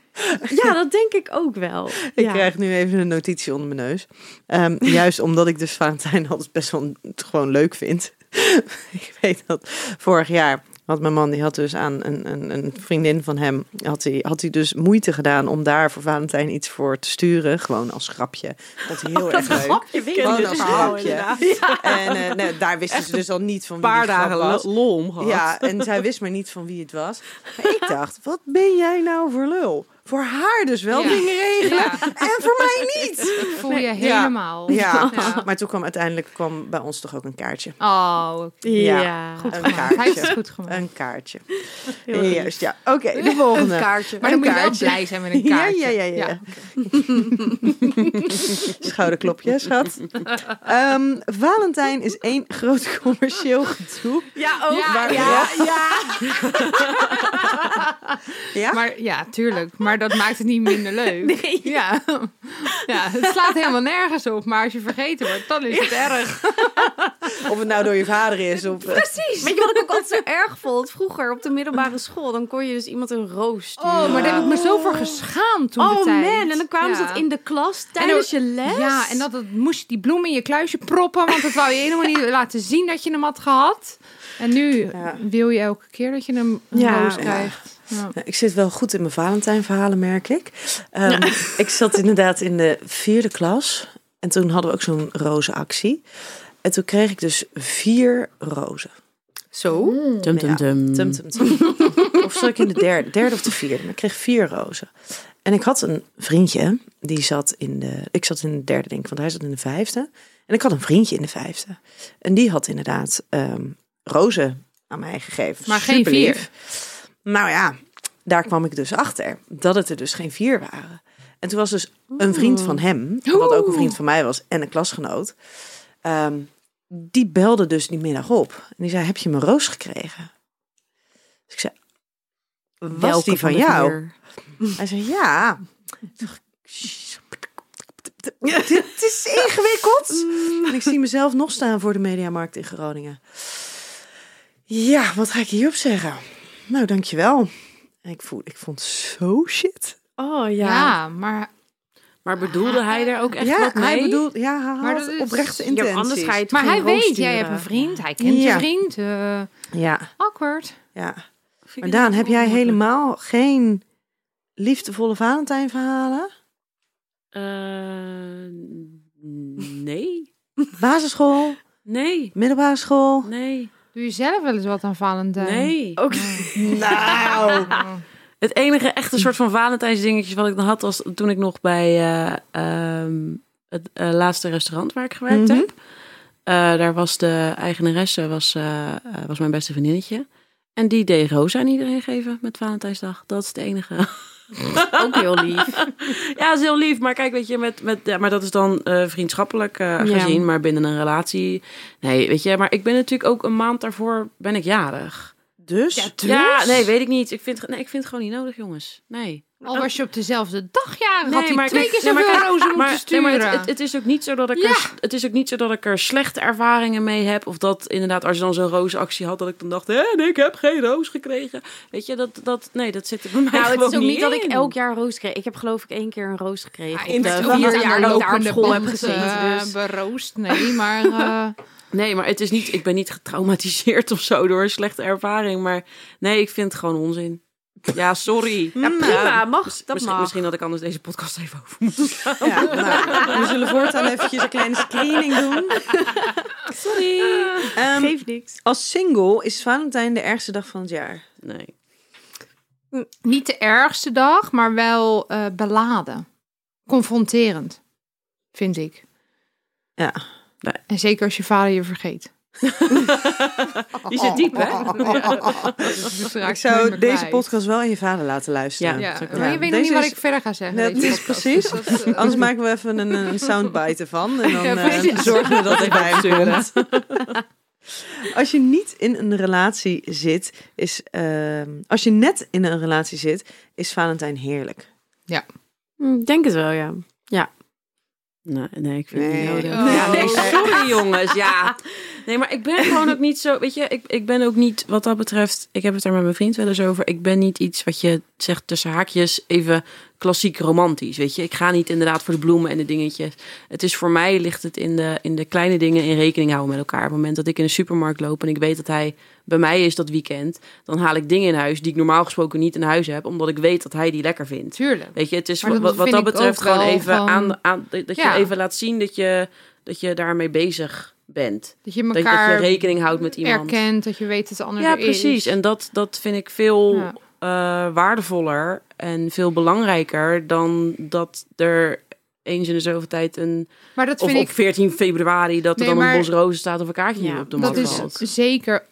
Ja, dat denk ik ook wel. Ik eh, ja. krijg nu even een notitie onder mijn neus. Ehm, <laughs> juist omdat ik dus Valentijn altijd best wel een- gewoon leuk vind. <laughs> ik weet dat vorig jaar had mijn man, die had dus aan een, een, een vriendin van hem, had hij had hij dus moeite gedaan om daar voor Valentijn iets voor te sturen. Gewoon als grapje. Dat hij heel Oh, erg leuk. Grapje, weet Gewoon je. als Ja. grapje. En eh, nee, daar wisten ze dus al niet van Een wie paar die grap dagen was. lo- lol om gehad. Ja, en zij wist maar niet van wie het was. Maar ik dacht, wat ben jij nou voor lul? Voor haar dus wel Ja. dingen regelen Ja. en voor mij niet. Voel je Ja. helemaal. Ja, <laughs> Ja. maar toen kwam uiteindelijk kwam bij ons toch ook een kaartje. Oh, oké. Ja. goed Een gemaakt. Hij heeft het kaartje. goed gemaakt. Een kaartje. Heel lief. Juist, ja. Oké, de volgende. kaartje. Maar dan Een moet je wel kaartje. blij zijn met een kaartje. Ja, ja, ja, ja. <laughs> Schouderklopje, schat. Ehm, Valentijn is één groot <laughs> commercieel gedoe. Ja, ook. Ja, waar- ja, Ja? Maar ja, tuurlijk. Maar dat maakt het niet minder <laughs> leuk. Ja. ja, het slaat helemaal nergens op. Maar als je vergeten wordt, dan is het erg. Of het nou door je vader is. Of, Precies. Weet je wat ik ook altijd zo erg vond? Vroeger op de middelbare school, dan kon je dus iemand een roos sturen. Oh, maar daar heb ik me zo voor geschaamd toen Oh de tijd. man, en dan kwamen ze dat in de klas tijdens je les. Ja, en dat, dat moest je die bloemen in je kluisje proppen. Want dat wou je helemaal niet <laughs> laten zien dat je hem had gehad. En nu Ja. wil je elke keer dat je hem een Ja. roos Ja. krijgt. Ja. Nou, Ik zit wel goed in mijn Valentijnverhalen, merk ik. Ehm, Ik zat inderdaad in de vierde klas. En toen hadden we ook zo'n rozenactie. En toen kreeg ik dus vier rozen. Zo? Tum, tum, Mm. Ja. tum. Tum, tum, <laughs> tum. of zat ik in de derde, derde of de vierde? Maar ik kreeg vier rozen. En ik had een vriendje, die zat in de... Ik zat in de derde, denk ik, want hij zat in de vijfde. En ik had een vriendje in de vijfde. En die had inderdaad ehm, rozen aan mij gegeven. Maar geen Superlief. vier. Nou ja, daar kwam ik dus achter. Dat het er dus geen vier waren. En toen was dus een Oh. vriend van hem, wat ook een vriend van mij was en een klasgenoot. ehm, die belde dus die middag op. En die zei, heb je mijn roos gekregen? Dus ik zei, was die van, jou? Hij zei, ja. <laughs> Dit is ingewikkeld. En ik zie mezelf nog staan voor de Mediamarkt in Groningen. Ja, wat ga ik hierop zeggen? Nou, dankjewel. En ik, voel, ik vond het zo shit. Ja. Oh ja. maar Maar bedoelde hij daar ook echt ja, wat mee? hij bedoelt, ja, hij Maar had dat is- oprechte Ja, intenties. anders ga je het maar geen hij roos weet, jij sturen. hebt een vriend, hij kent Ja. je vriend. eh, Ja, awkward. Ja. Vind Maar ik Daan, niet heb jij onmogelijk. helemaal geen liefdevolle Valentijnverhalen? Eh, nee. Basisschool, Nee. middelbare school? Nee. Doe je zelf wel eens wat aan Eh. Oh. Valentijn? Nee. Ook. Nou. <laughs> Het enige echte soort van Valentijnsdingetje wat ik dan had was toen ik nog bij eh, ehm, het eh, laatste restaurant waar ik gewerkt Mhm. heb. Eh, daar was de eigenaresse, was, eh, eh, was mijn beste vriendinnetje. En die deed rozen aan iedereen geven met Valentijnsdag. Dat is het enige. <laughs> Ook heel lief. <laughs> Ja, dat is heel lief. Maar kijk, weet je, met, met, ja, maar dat is dan eh, vriendschappelijk eh, Ja. gezien. Maar binnen een relatie. Nee, weet je, maar ik ben natuurlijk ook een maand daarvoor ben ik jarig. Dus? Ja, nee, weet ik niet. Ik vind, nee, ik vind het gewoon niet nodig, jongens. Nee. Al was je op dezelfde dag jarig, had hij maar twee kijk- keer nee, maar zoveel kijk, rozen moeten maar, nee, sturen. maar het, het, het is ook niet zo dat ik er, het is ook niet zo dat ik er slechte ervaringen mee heb. Of dat inderdaad, als je dan zo'n roosactie had, dat ik dan dacht, hè, nee, ik heb geen roos gekregen. Weet je, dat, dat, nee, dat zit er bij mij Nou, het gewoon is ook niet dat ik in. elk jaar een roos kreeg. Ik heb geloof ik één keer een roos gekregen. in op de de vier vier jaar dat ik daar op lopende school heb band, gezeten. eh, Dus. beroost, nee, maar... eh, <laughs> Nee, maar het is niet, ik ben niet getraumatiseerd of zo door een slechte ervaring. Maar nee, ik vind het gewoon onzin. Ja, <laughs> sorry. Ja, prima, mag. Dat misschien, mag. misschien had ik anders deze podcast even over moeten. Ja, nou, we zullen voortaan eventjes een kleine screening doen. Sorry. Ehm, Geeft niks. als single is Valentijn de ergste dag van het jaar. Nee. niet de ergste dag, maar wel eh, beladen. Confronterend, vind ik. Ja. Nee. En zeker als je vader je vergeet. Die zit diep, hè? <laughs> Nou, Ik zou deze podcast wel aan je vader laten luisteren. Ja. Ja, dat is ook maar waar. je weet nog Deze niet wat is- ik verder ga zeggen. Dat deze is podcast. precies. Oh, Dus <laughs> dat, eh, Anders maken we even een, een soundbite ervan. En dan Ja, eh, precies. zorgen we dat hij bij hem komt. <laughs> Als je niet in een relatie zit, is... ehm, als je net in een relatie zit, is Valentijn heerlijk. Hm, Denk het wel, ja. Nee, nee, ik vind Nee. het niet nodig. Oh. Ja, nee, sorry jongens, ja. Nee, maar ik ben gewoon ook niet zo, weet je, ik, ik ben ook niet, wat dat betreft, ik heb het daar met mijn vriend wel eens over, ik ben niet iets wat je zegt tussen haakjes even klassiek romantisch, weet je. Ik ga niet inderdaad voor de bloemen en de dingetjes. Het is voor mij, ligt het in de, in de kleine dingen in rekening houden met elkaar. Op het moment dat ik in de supermarkt loop en ik weet dat hij bij mij is dat weekend, dan haal ik dingen in huis die ik normaal gesproken niet in huis heb, omdat ik weet dat hij die lekker vindt. Tuurlijk. Weet je, het is Maar wat dat wat dat, vind ik betreft ook gewoon wel even van- aan, aan dat Ja. je even laat zien dat je dat je daarmee bezig bent. Dat je Dat je, dat je elkaar rekening houdt met iemand. erkent, dat je weet dat de ander Ja, er is. precies. En dat, dat vind ik veel Ja. eh, waardevoller en veel belangrijker dan dat er eens in de zoveel tijd een. Maar dat Of vind op ik 14 februari dat Nee, er dan maar- een bos rozen staat of een kaartje Ja, op de Dat mat is valt. zeker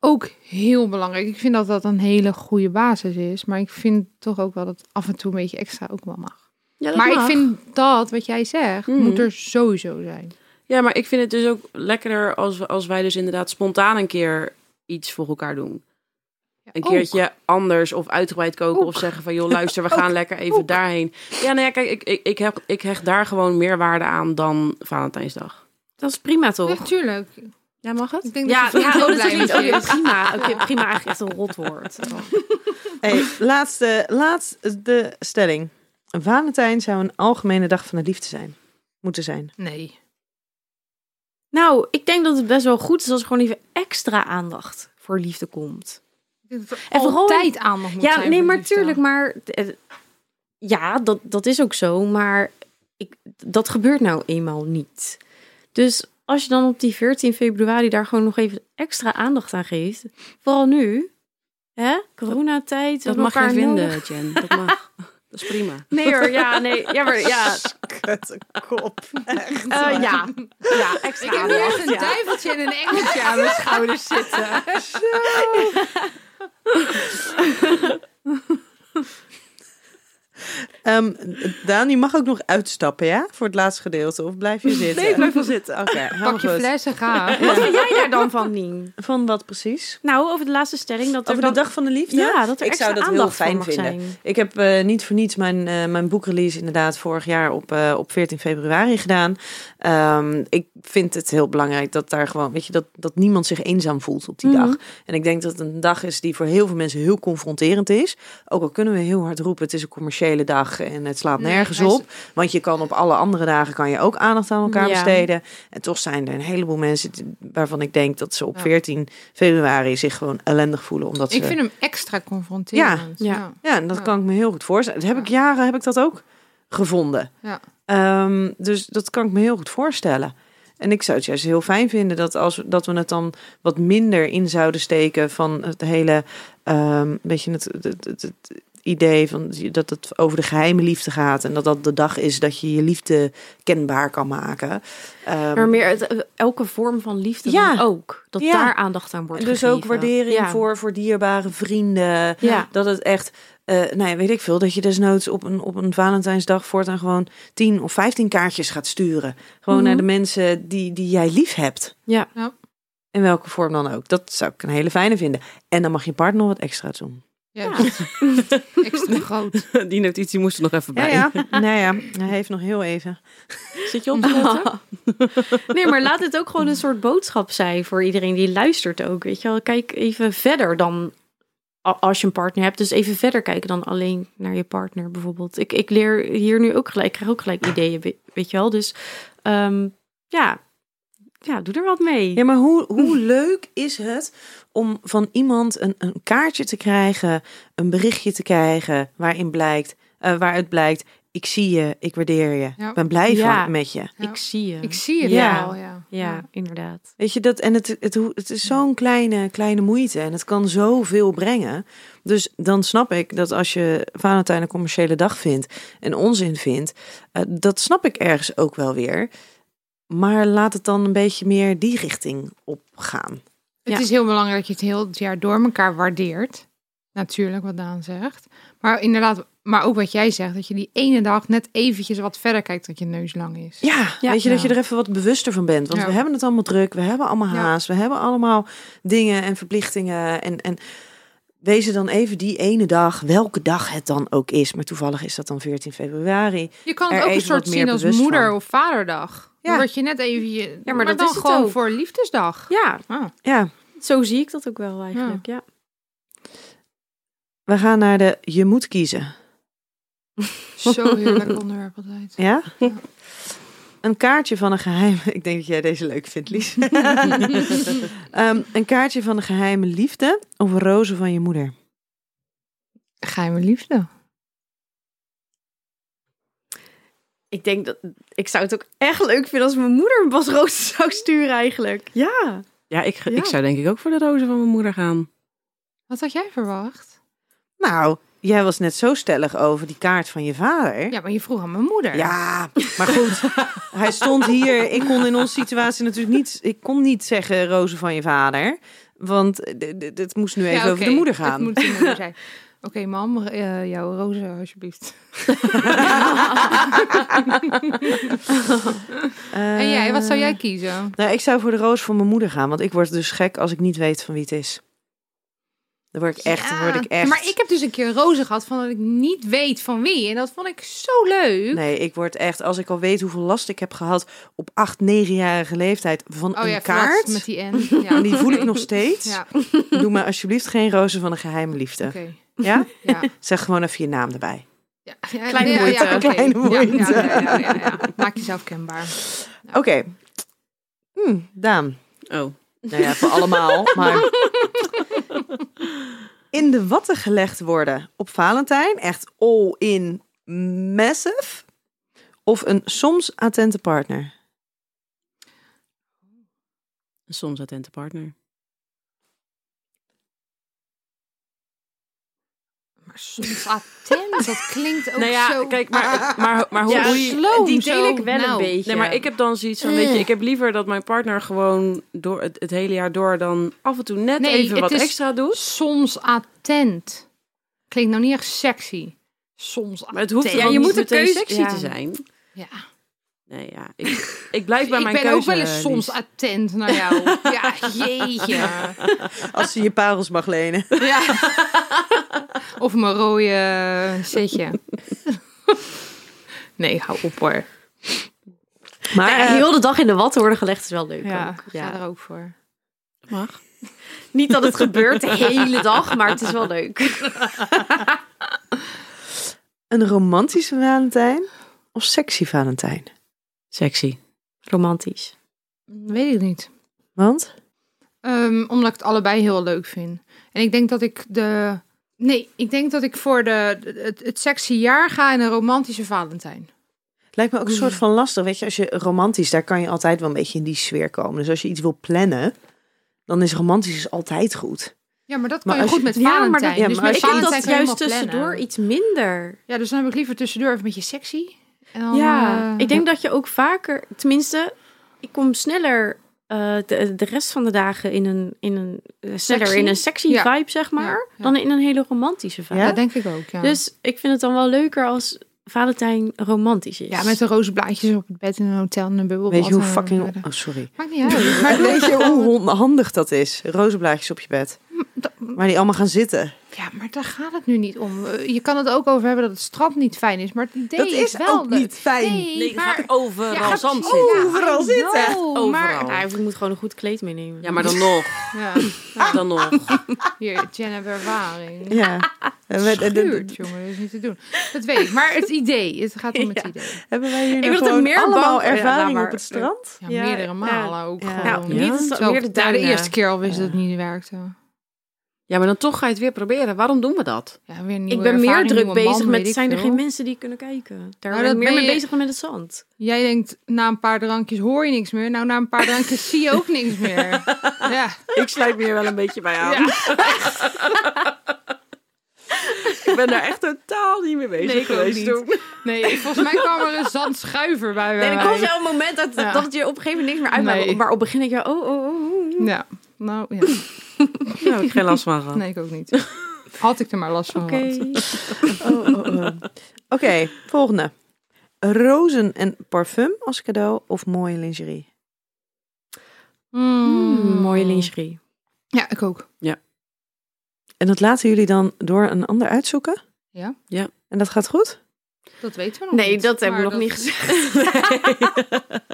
ook heel belangrijk. Ik vind dat dat een hele goede basis is. Maar ik vind toch ook wel dat af en toe een beetje extra ook wel mag. Ja, dat maar mag. ik vind dat, wat jij zegt, Mm. Mhm. moet er sowieso zijn. Ja, maar ik vind het dus ook lekkerder als, we- als wij dus inderdaad spontaan een keer iets voor elkaar doen. een ook. keertje anders of uitgebreid koken Ook. of zeggen van joh luister we gaan lekker even Ook. daarheen. Ja, nou ja, kijk ik ik ik, heb, ik hecht daar gewoon meer waarde aan dan Valentijnsdag. Dat is prima, toch? Natuurlijk. Ja, mag het? Ik denk Ja, dat je ja, heel oh, dat blij is met niet. je Oké, is. prima. Oké, prima. Eigenlijk echt een rotwoord. Hey, laatste, laatste stelling. Valentijn zou een algemene dag van de liefde zijn. Moeten zijn. Nee. Nou, ik denk dat het best wel goed is als er gewoon even extra aandacht voor liefde komt. En En vooral- altijd aandacht moet ja, zijn nee, voor maar liefde. tuurlijk, maar eh, ja, dat, dat is ook zo, maar ik, dat gebeurt nou eenmaal niet. Dus als je dan op die 14 februari daar gewoon nog even extra aandacht aan geeft, vooral nu, hè, coronatijd, we Dat hebben mag jij elkaar vinden, nodig. Jen. Dat <laughs> mag. Dat is prima. Nee hoor, ja, nee, ja, maar <laughs> ja, Kutte kop. Echt eh, waar. ja, ja, extra Ik heb nu echt aandacht. een ja. duiveltje en een engeltje aan mijn schouders zitten. Ehm, Daan, je mag ook nog uitstappen, ja? Voor het laatste gedeelte. Of blijf je zitten? Nee, blijf wel zitten. Oké, helemaal Pak je goed. fles en ga. Wat vind jij daar dan van, Nien? Van wat precies? Nou, over de laatste stelling dat er Over de dan- dag van de liefde? ja, dat er Ik extra zou dat heel aandacht voor fijn mag vinden. zijn. Ik heb eh, niet voor niets mijn, eh, mijn boekrelease inderdaad vorig jaar op, eh, op 14 februari gedaan. Ehm, ik vind het heel belangrijk dat daar gewoon, weet je, dat, dat niemand zich eenzaam voelt op die Mhm. dag. En ik denk dat het een dag is die voor heel veel mensen heel confronterend is. Ook al kunnen we heel hard roepen, het is een commerciële dag en het slaat Nee, nergens hij is- op. Want je kan op alle andere dagen kan je ook aandacht aan elkaar Ja. besteden. En toch zijn er een heleboel mensen die- waarvan ik denk dat ze op Ja. 14 februari zich gewoon ellendig voelen. Omdat ze... Ik vind hem extra confronterend. Ja, ja. Ja, en dat Ja. kan ik me heel goed voorstellen. Dat heb ik jaren heb ik dat ook gevonden. Ja. Ehm, dus dat kan ik me heel goed voorstellen. En ik zou het juist heel fijn vinden dat, als, dat we het dan wat minder in zouden steken van het hele ehm beetje het, het, het, het idee van dat het over de geheime liefde gaat. En dat dat de dag is dat je je liefde kenbaar kan maken. Ehm, Maar meer het- eh, elke vorm van liefde Ja. dan ook. Dat Ja. daar aandacht aan wordt en dus ook gegeven. waardering Ja. voor, voor dierbare vrienden. Ja. Dat het echt, eh nou ja, weet ik veel, dat je desnoods op een, op een Valentijnsdag voortaan gewoon 10 of 15 kaartjes gaat sturen. Gewoon Mhm. naar de mensen die, die jij lief hebt. Ja. Ja. In welke vorm dan ook. Dat zou ik een hele fijne vinden. En dan mag je partner nog wat extra doen. <laughs> Juist. <laughs> extra groot. Die notitie moest er nog even bij. <laughs> nou ja, hij heeft nog heel even. Zit je op te letten? Nee, maar laat het ook gewoon een soort boodschap zijn voor iedereen die luistert ook. Weet je wel, kijk even verder dan a- als je een partner hebt. Dus even verder kijken dan alleen naar je partner bijvoorbeeld. Ik, ik leer hier nu ook gelijk, ik krijg ook gelijk ideeën, we- weet je wel. Dus ehm, ja. ja, doe er wat mee. Ja, maar hoe, hoe leuk is het om van iemand een, een kaartje te krijgen, een berichtje te krijgen waarin blijkt, eh, waaruit blijkt, ik zie je, ik waardeer je, Ja. ik ben blij Ja. van, met je. Ja. Nou, Ik zie je. Ik zie het Ja. wel, ja. Ja, inderdaad. Weet je dat? En het, het, hoe- het is zo'n kleine, kleine moeite en het kan zoveel brengen. Dus dan snap ik dat als je Valentijn een commerciële dag vindt en onzin vindt, eh, dat snap ik ergens ook wel weer. Maar laat het dan een beetje meer die richting opgaan. Het Ja. is heel belangrijk dat je het heel het jaar door elkaar waardeert. Natuurlijk, wat Daan zegt. Maar inderdaad, maar ook wat jij zegt, dat je die ene dag net eventjes wat verder kijkt dat je neus lang is. Ja, Ja. weet je dat je Ja. er even wat bewuster van bent. Want Ja. we hebben het allemaal druk, we hebben allemaal Ja. haast, we hebben allemaal dingen en verplichtingen. En, en wees er dan even die ene dag, welke dag het dan ook is. Maar toevallig is dat dan 14 februari. Je kan het Er ook een even soort wat meer zien als bewust moeder van. of vaderdag. Ja. Ja. Dat je net even je... maar maar dat dan is het gewoon ook. voor liefdesdag. Ja, Ah. Ja, zo zie ik dat ook wel eigenlijk. Ja. we gaan naar de je moet kiezen. <laughs> Zo heerlijk onderwerp altijd. <laughs> Ja? Een kaartje van een geheime... <laughs> Ik denk dat jij deze leuk vindt, Lies. <laughs> Ehm, een kaartje van een geheime liefde of een roze van je moeder. Geheime liefde. Ik denk dat ik zou het ook echt leuk vinden als mijn moeder een <laughs> wasroos zou sturen eigenlijk. Ja. Ja, ik, ge- Ja. ik zou denk ik ook voor de rozen van mijn moeder gaan. Wat had jij verwacht? Nou, jij was net zo stellig over die kaart van je vader. Ja, maar je vroeg aan mijn moeder. Ja, maar goed. <laughs> hij stond hier. Ik kon in onze situatie natuurlijk niet... Ik kon niet zeggen rozen van je vader. Want het moest nu even Ja, over oké. de moeder Het gaan. moet de <laughs> moeder zijn. Oké, mam, eh, jouw rozen alsjeblieft. Eh, En jij, wat zou jij kiezen? Nou, ik zou voor de roos van mijn moeder gaan. Want ik word dus gek als ik niet weet van wie het is. Dan word ik echt... dan word ik Ja, echt... Maar ik heb dus een keer rozen gehad van dat ik niet weet van wie. En dat vond ik zo leuk. Nee, ik word echt... Als ik al weet hoeveel last ik heb gehad op acht, negenjarige leeftijd van oh een ja, kaart... kaart. met <laughs> die N. Ja. En die voel ik <laughs> nog steeds. Ja, Doe me alsjeblieft geen rozen van een geheime liefde. oké. Ja? Ja. Zeg gewoon even je naam erbij. Ja. Kleine moeite, oké. kleine Ja, ja, moeite. ja, ja, ja, ja. Maak jezelf kenbaar. Oké. Hm, Daan. Oh. Nou ja, voor <laughs> allemaal, maar... In de watten gelegd worden op Valentijn. Echt all in massive. Of een soms attente partner. Een soms attente partner. Maar soms attent, dat klinkt ook nou ja, zo... kijk, maar, maar, maar hoe, Ja, hoe je... sloom die deel zo. ik wel een Nou, beetje. Nee, maar ik heb dan zoiets van, weet je, ik heb liever dat mijn partner gewoon door het, het hele jaar door dan af en toe net Nee, even het wat is- extra doet. Soms attent. Klinkt nou niet echt sexy. Soms Maar het hoeft attent. ja, je moet een keuze sexy ja. te zijn. Ja. Nee, ja, ik, ik <laughs> blijf bij ik mijn ben keuze. ook wel eens soms Lies. attent naar jou. ja, <laughs> jeetje. Als ze je parels mag <laughs> lenen. Ja. of mijn eh, <laughs> rode setje. nee, hou op hoor. Maar eh, Ah, heel de dag in de watten worden gelegd is wel leuk Ja, ook. ik ga er ook voor. Niet dat het gebeurt de hele dag, maar het is wel leuk. Een romantische Valentijn of sexy Valentijn? Sexy. Romantisch. Weet ik niet. Want? Ehm, omdat ik het allebei heel leuk vind. En ik denk dat ik de... Nee, ik denk dat ik voor de, het, het sexy jaar ga en een romantische Valentijn. Lijkt me ook een soort van lastig. Weet je, als je romantisch, daar kan je altijd wel een beetje in die sfeer komen. Dus als je iets wil plannen, dan is romantisch is altijd goed. Ja, maar dat Maar kan je als goed je- met ja, maar Valentijn. dat- ja, dus maar met als je- Ik vind Valentijn dat kan je juist helemaal tussendoor plannen. iets minder. Ja, dus dan heb ik liever tussendoor even een beetje sexy. En dan, Ja, eh, ik denk dat je ook vaker, tenminste, ik kom sneller eh, de, de rest van de dagen in een, in een eh, sneller Sexy? in een sexy Ja. vibe, zeg maar, ja. dan in een hele romantische vibe. Ja? Dat denk ik ook, ja. Dus ik vind het dan wel leuker als Valentijn romantisch is. ja, met de roze blaadjes op het bed in een hotel en een eh, bubbelbad. Weet je hoe en- fucking... Oh, sorry. Maakt niet <laughs> <laughs> uit. Maar weet je hoe hon- handig dat is? Rozenblaadjes op je bed. Waar die allemaal gaan zitten. Ja, maar daar gaat het nu niet om. Eh, Je kan het ook over hebben dat het strand niet fijn is, maar het idee Dat is wel ook leuk. niet fijn. Nee, Nee, maar... maar overal Ja, zand precies. zitten. Ja, Overal I zitten. <laughs> know, Overal. Maar, Ja, of ik moet gewoon een goed kleed meenemen. Ja, maar dan nog. ja, Dan nog. hier, Januari. Ja. En we- en- en- Schuurt, jongen, dat is niet te doen. Dat weet ik. Maar het idee, het gaat om het idee. Hebben wij hier Ik word er gewoon meer allemaal bang voor. Ja, laat ervaring maar. op het strand? Ja, Ja, meerdere ja. malen ook Ja. gewoon. Nou, niet eens- Terwijl weer ik de daar de duinen. eerste keer al wist dat het niet werkte. Ja, maar dan toch ga je het weer proberen. Waarom doen we dat? Ja, weer een ik nieuwe ben meer ervaring, druk nieuwe man, bezig weet met ik zijn er veel. geen mensen die kunnen kijken. Daar Nou, ben dat ik meer ben mee je- bezig dan met het <laughs> zand. Jij denkt, na een paar drankjes hoor je niks meer. Nou, na een paar drankjes zie je ook niks meer. Ja, Ik sluit me hier wel een beetje bij aan. Ja. Ik ben daar echt totaal niet mee bezig Nee, ik ook geweest niet. toen. nee, volgens mij kwam er een zandschuiver bij En bij er mij. komt wel een moment dat, Ja. dat het je op een gegeven moment niks meer uitmaakt. Nee. Maar op begin ik ja, oh, oh, oh, oh. Ja, nou ja. Nou, ik geen last van gehad. <laughs> Nee, ik ook niet. Had ik er maar last van Oké. gehad. <laughs> Oh, oh, oh. <laughs> Oké, volgende. Rozen en parfum als cadeau of mooie lingerie? Mm, mooie lingerie. Ja, ik ook. En dat laten jullie dan door een ander uitzoeken? Ja. Ja. En dat gaat goed? Dat weten we nog Nee, niet. Oh, dat hebben we maar nog niet gezegd. <laughs>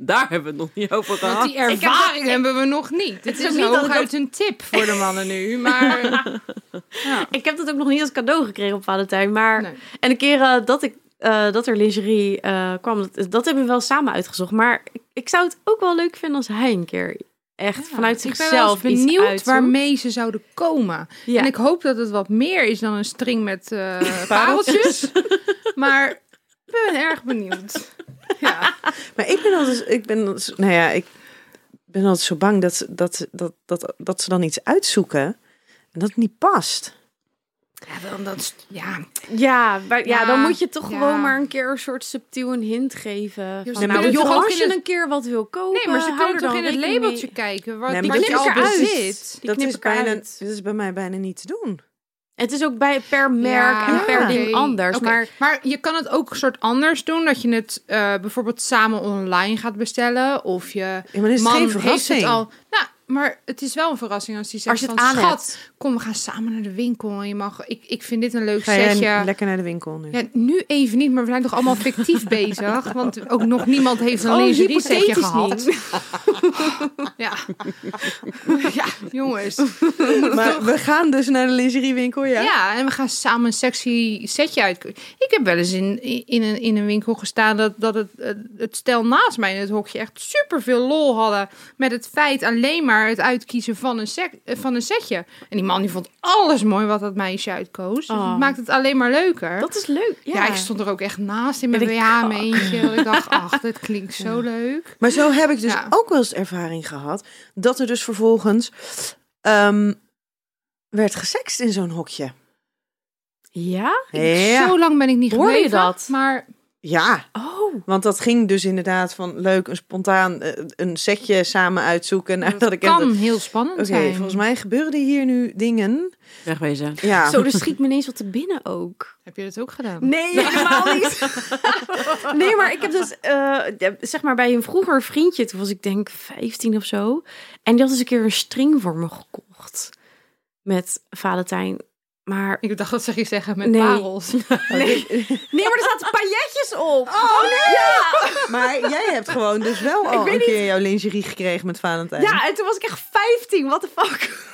Daar hebben we het nog niet over Want gehad. die ervaring hebben we nog niet. Het is is ook niet dat ik hooguit een tip voor de mannen nu. <laughs> Maar ja. Ik heb dat ook nog niet als cadeau gekregen op Valentijn. Maar... Nee. En de keren dat, ik, eh, dat er lingerie eh, kwam, dat, dat hebben we wel samen uitgezocht. Maar ik, ik zou het ook wel leuk vinden als hij een keer echt vanuit ik ben wel eens zichzelf iets benieuwd uitzoekt. waarmee ze zouden komen. Ja. En ik hoop dat het wat meer is dan een string met eh, <laughs> pareltjes. maar ik ben erg benieuwd. Ja. Maar ik ben altijd, ik ben, altijd- nou ja, ik ben altijd zo bang dat, ze- dat, ze- dat, dat, dat ze dan iets uitzoeken en dat het niet past. Ja, dan dat, ja. Ja, maar, ja, Ja, dan moet je toch ja. gewoon maar een keer een soort subtiel een hint geven. Van, ze kunnen nou, toch joh, ook als in je het- een keer wat wil kopen, Nee, maar ze hou kunnen er toch dan in het rekening mee. labeltje kijken wat, Nee, wat dat je knip al ik eruit. bezit. Die dat, knip is ik bijna, eruit. dat is bij mij bijna niet te doen. Het is ook bij, per merk en per oké. ding anders. Oké, Maar je kan het ook een soort anders doen. Dat je het eh, bijvoorbeeld samen online gaat bestellen. Of je Ja, maar dan is het man geen heeft verrassing. het al. Nou, maar het is wel een verrassing als hij zegt Als je het van... aan Schat, hebt." kom, we gaan samen naar de winkel. En je mag... Ik, ik vind dit een leuk Ga jij setje. lekker naar de winkel nu? Ja, nu even niet, maar we zijn toch allemaal fictief <laughs> bezig. Want ook nog niemand heeft een Oh, lingerie setje hypothetisch gehad. <laughs> ja. ja, jongens. Maar we gaan dus naar de lingeriewinkel, ja? Ja. en we gaan samen een sexy setje uit. Ik heb wel eens in, in, een, in een winkel gestaan dat, dat het, het, het stel naast mij in het hokje echt super veel lol hadden. Met het feit alleen maar het uitkiezen van een, sec, eh, van een setje. En die man die vond alles mooi wat dat meisje uitkoos. Dus Oh. het maakt het alleen maar leuker. dat is leuk. Ja, ja. ik stond er ook echt naast in mijn Met een kak. BH-meentje. E Ik dacht, ach, dit klinkt zo leuk. Maar zo heb ik dus Ja. ook wel eens ervaring gehad dat er dus vervolgens ehm, werd gesext in zo'n hokje. Ja? Ja. Zo lang ben ik niet Hoorde je gebleven. dat? Maar ja, Oh. want dat ging dus inderdaad van leuk, een spontaan eh, een setje samen uitzoeken. Nou, dat ik kan Oké, heel spannend zijn. volgens mij gebeuren hier nu dingen. Wegwezen. Ja, Zo, er schiet me ineens wat te binnen ook. Heb je dat ook gedaan? <laughs> Nee, helemaal niet. <laughs> nee, maar ik heb dus, eh, ja, zeg maar, bij een vroeger vriendje, toen was ik denk 15 of zo. En die had eens een keer een string voor me gekocht. Met Valentijn. Maar Ik dacht dat ze ging zeggen met Nee. parels. nee, maar er zaten pailletjes op. Oh nee! Maar jij hebt gewoon dus wel al weet een keer jouw lingerie gekregen met Valentijn. Ja, en toen was ik echt 15. What the fuck?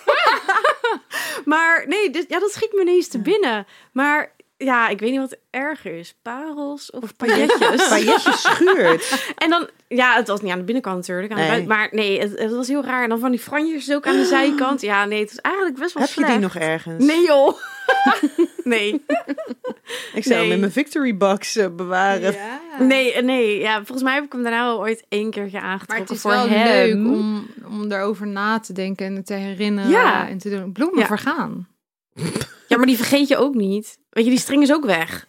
<laughs> maar nee, dit, ja, dat schiet me ineens te binnen. Maar ja, ik weet niet wat erger is. Parels of pailletjes? Pailletje schuurt. <laughs> en dan, ja, het was niet aan de binnenkant natuurlijk. Aan de Nee. buiten- maar nee, het, het was heel raar. En dan van die franjes ook aan de zijkant. Ja, nee, het was eigenlijk best wel Heb je slecht. die nog ergens? Nee joh. nee. Ik zou Nee. hem in mijn victory box eh, bewaren. Nee, eh, nee. Ja, volgens mij heb ik hem daarna wel ooit één keer aangetrokken Maar het is voor wel hem. leuk om, om daarover na te denken en het te herinneren Ja. en te doen. Bloemen Ja. vergaan. Ja, maar die vergeet je ook niet. Weet je, die string is ook weg.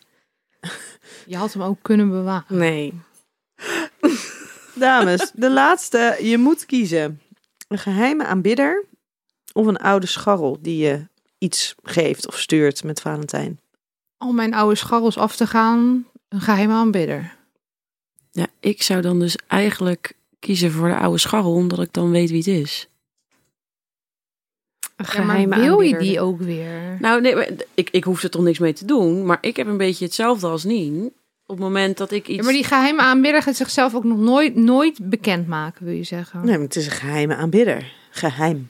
Je had hem ook kunnen bewaren. Nee. Dames, de laatste. Je moet kiezen. Een geheime aanbidder of een oude scharrel die je iets geeft of stuurt met Valentijn. Al mijn oude scharrels af te gaan. Een geheime aanbidder. Ja, ik zou dan dus eigenlijk kiezen voor de oude scharrel, omdat ik dan weet wie het is. Een Ja, maar geheime wil je aanbieder. die ook weer? Nou, nee, maar ik, ik hoef er toch niks mee te doen, maar ik heb een beetje hetzelfde als Nien. Op het moment dat ik iets... Ja, maar die geheime aanbidder gaat zichzelf ook nog nooit, nooit bekendmaken, wil je zeggen. Nee, maar het is een geheime aanbidder. Geheim.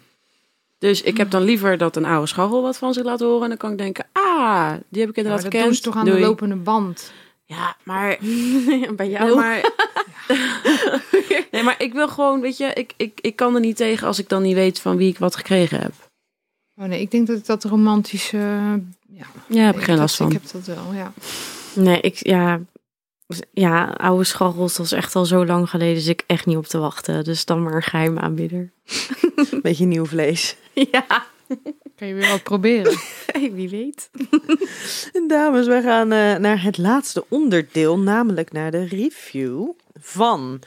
Dus ik Mm. heb dan liever dat een oude scharrel wat van zich laat horen. En dan kan ik denken, ah, die heb ik Ja, maar inderdaad dat gekend. doen ze toch aan Doei. de lopende band. Ja, <laughs> maar... Bij jou. Ja, <laughs> maar... nee, maar ik wil gewoon, weet je, ik, ik, ik kan er niet tegen als ik dan niet weet van wie ik wat gekregen heb. Oh nee, ik denk dat ik dat romantische... Ja, Ja, heb ik geen last dat- Ik van. heb dat wel, ja. Nee, ik, ja. Ja, oude scharrels, dat is echt al zo lang geleden. Dus ik echt niet op te wachten. Dus dan maar een geheime <laughs> aanbieder. Een beetje nieuw vlees. Ja, Kan je weer wat proberen. hey, wie weet. En dames, wij gaan eh, naar het laatste onderdeel, namelijk naar de review van.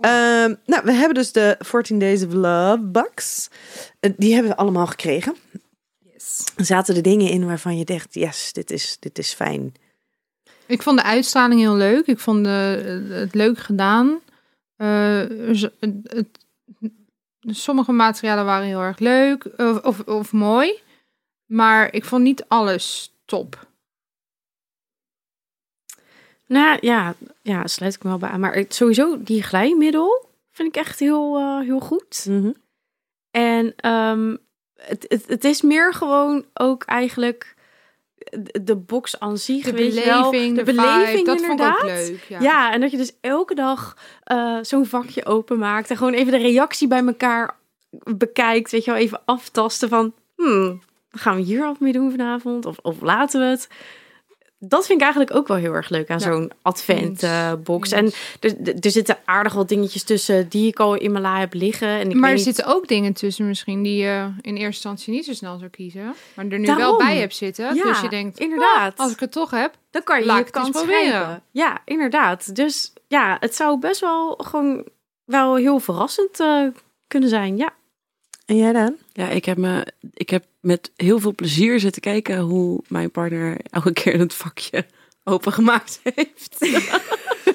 Ehm, nou, we hebben dus de 14 Days of Love box. Eh, die hebben we allemaal gekregen. Er zaten er dingen in waarvan je dacht, yes, dit is, dit is fijn. Ik vond de uitstraling heel leuk. Ik vond de, het leuk gedaan. Eh, z- het, het- sommige materialen waren heel erg leuk of, of, of mooi. Maar ik vond niet alles top. Nou ja, ja, sluit ik me wel bij aan. Maar het- sowieso, die glijmiddel vind ik echt heel, eh, heel goed. En ehm, het, het, het is meer gewoon ook eigenlijk de- de box aan zich. De weet je beleving, wel. de, vibe, dat vond ik ook leuk. Ja. Ja. en dat je dus elke dag eh, zo'n vakje openmaakt en gewoon even de reactie bij elkaar bekijkt. Weet je wel, even aftasten van, hmm, wat gaan we hier af mee doen vanavond? Of, of laten we het? Dat vind ik eigenlijk ook wel heel erg leuk aan Ja. zo'n advent eh, box. Eens. En er, er- er zitten aardig wat dingetjes tussen die ik al in mijn la heb liggen. En maar ik er weet niet- zitten ook dingen tussen misschien die je in eerste instantie niet zo snel zou kiezen. Maar er nu wel Daarom. bij hebt zitten. Ja, dus je denkt, inderdaad. als ik het toch heb. Dan kan je Laat je ik het eens kans proberen. proberen. Ja, inderdaad. Dus ja, het zou best wel gewoon wel heel verrassend eh, kunnen zijn. Ja. En jij dan? Ja, ik heb, me, ik heb met heel veel plezier zitten kijken hoe mijn partner elke keer het vakje <laughs> opengemaakt heeft.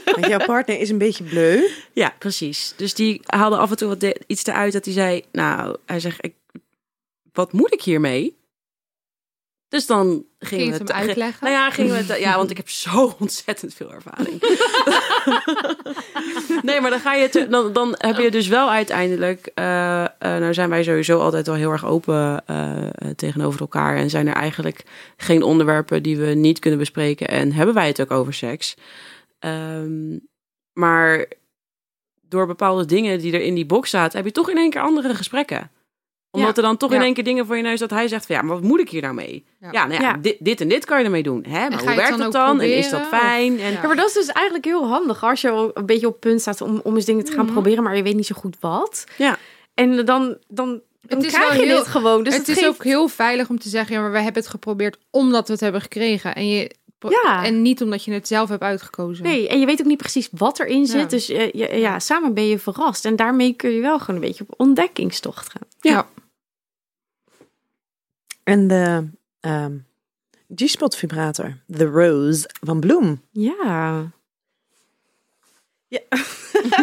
Want jouw partner is een beetje bleu. Ja, precies. Dus die haalde af en toe wat de- iets eruit dat hij zei, nou, hij zegt, ik, wat moet ik hiermee? Dus dan gingen Ging we het het hem uitleggen? Nou ja, gingen we het, ja, want ik heb <laughs> zo ontzettend veel ervaring. <laughs> nee, maar dan ga je, te- dan, dan heb je dus wel uiteindelijk, eh, eh, nou zijn wij sowieso altijd wel heel erg open eh, eh, tegenover elkaar en zijn er eigenlijk geen onderwerpen die we niet kunnen bespreken en hebben wij het ook over seks. Ehm, maar door bepaalde dingen die er in die box zaten, heb je toch in één keer andere gesprekken. Omdat er dan toch in Ja. één keer dingen voor je neus dat hij zegt van ja, maar wat moet ik hier nou mee? Ja, Ja. nou ja, Ja. Dit, dit en dit kan je ermee doen. Hè? Maar ga hoe je het werkt dan dat ook dan? En is dat proberen? fijn? <laughs> En, Ja. Ja, maar dat is dus eigenlijk heel handig als je al een beetje op punt staat om, om eens dingen te gaan Mhm. proberen, maar je weet niet zo goed wat. Ja. En dan, dan, dan is krijg wel je heel- dit gewoon. Dus het, is geeft- ook heel veilig om te zeggen, ja, maar we hebben het geprobeerd omdat we het hebben gekregen. En, je, Ja. en niet omdat je het zelf hebt uitgekozen. Nee, en je weet ook niet precies wat erin zit. Ja. Dus eh, je, ja, samen ben je verrast. En daarmee kun je wel gewoon een beetje op ontdekkingstocht gaan. Ja. En de ehm, G-spot vibrator, The Rose van Bloem. Ja.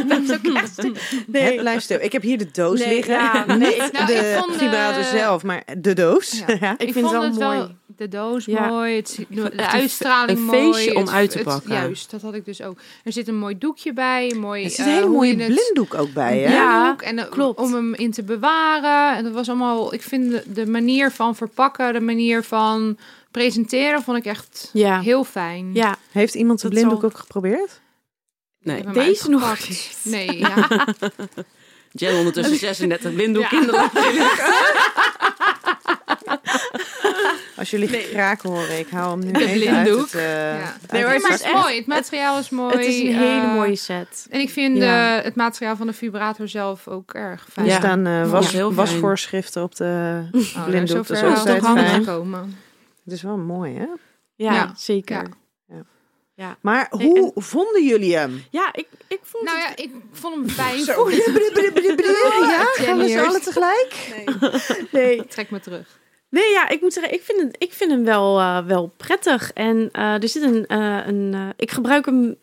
Dat is ook echt... Nee, luister, ik heb hier de doos Nee, liggen. ja, <laughs> Niet Nou, de ik vond, eh, vibrator zelf, maar de doos. Ja. <laughs> Ja. Ik, vind het wel mooi. wel de doos Ja. mooi, het ziet de echt een uitstraling fe- een mooi. feestje om het- uit te het- pakken. juist, dat had ik dus ook. Er zit een mooi doekje bij, een mooi... Er zit eh, een hele hoe mooie je het- blinddoek ook bij, hè? Ja. doek en eh, klopt. om hem in te bewaren. En dat was allemaal, ik vind de, de manier van verpakken, de manier van presenteren, vond ik echt Ja. heel fijn. Ja, Heeft iemand de Dat blinddoek zal- ook geprobeerd? Ik <laughs> Nee, heb hem Deze nog uitgepakt. niet. Nee, ja. Jen <laughs> ondertussen 36 blinddoek Ja. kinderen. <laughs> Als jullie kraken horen, ik hou hem nu De even blinddoek. uit het... eh, ja. Nee, maar maar het het is is echt- mooi. Het materiaal is mooi. het is een hele eh, mooie set. En ik vind Ja. eh, het materiaal van de vibrator zelf ook erg fijn. Er Ja. staan eh, was, Ja, heel fijn. wasvoorschriften op de <laughs> Oh, daar blinddoek. zover Dat is wel altijd toch handig fijn. gekomen. Het is wel mooi, hè? Ja, Ja. zeker. Ja. Maar Nee, hoe vonden jullie hem? Ja, ik, ik vond Nou het... ja, ik vond <laughs> hem fijn. Zo. <laughs> <laughs> Ja, gaan we z'n eerst. allen tegelijk? <laughs> Nee. Trek me terug. nee, ja, ik moet zeggen, ik vind, het, ik vind hem wel, eh, wel prettig. En eh, er zit een... eh, een eh, ik gebruik hem...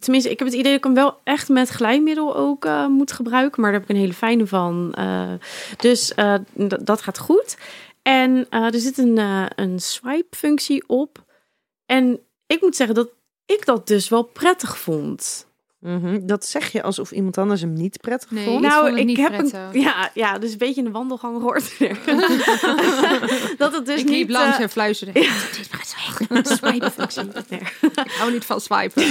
Tenminste, ik heb het idee dat ik hem wel echt met glijmiddel ook eh, moet gebruiken. Maar daar heb ik een hele fijne van. Eh, dus eh, d- dat gaat goed. En eh, er zit een, eh, een swipe-functie op. En ik moet zeggen dat ik dat dus wel prettig vond. Mhm, Dat zeg je alsof iemand anders hem niet prettig Nee. vond. Ik vond Nou, het ik niet heb prettig. een. Ja, ja, dus een beetje in de wandelgang hoort er. <laughs> dat het dus ik niet. liep langs eh, en <laughs> fluisterde. swipe-functie. Nee. Ik hou niet van swipen.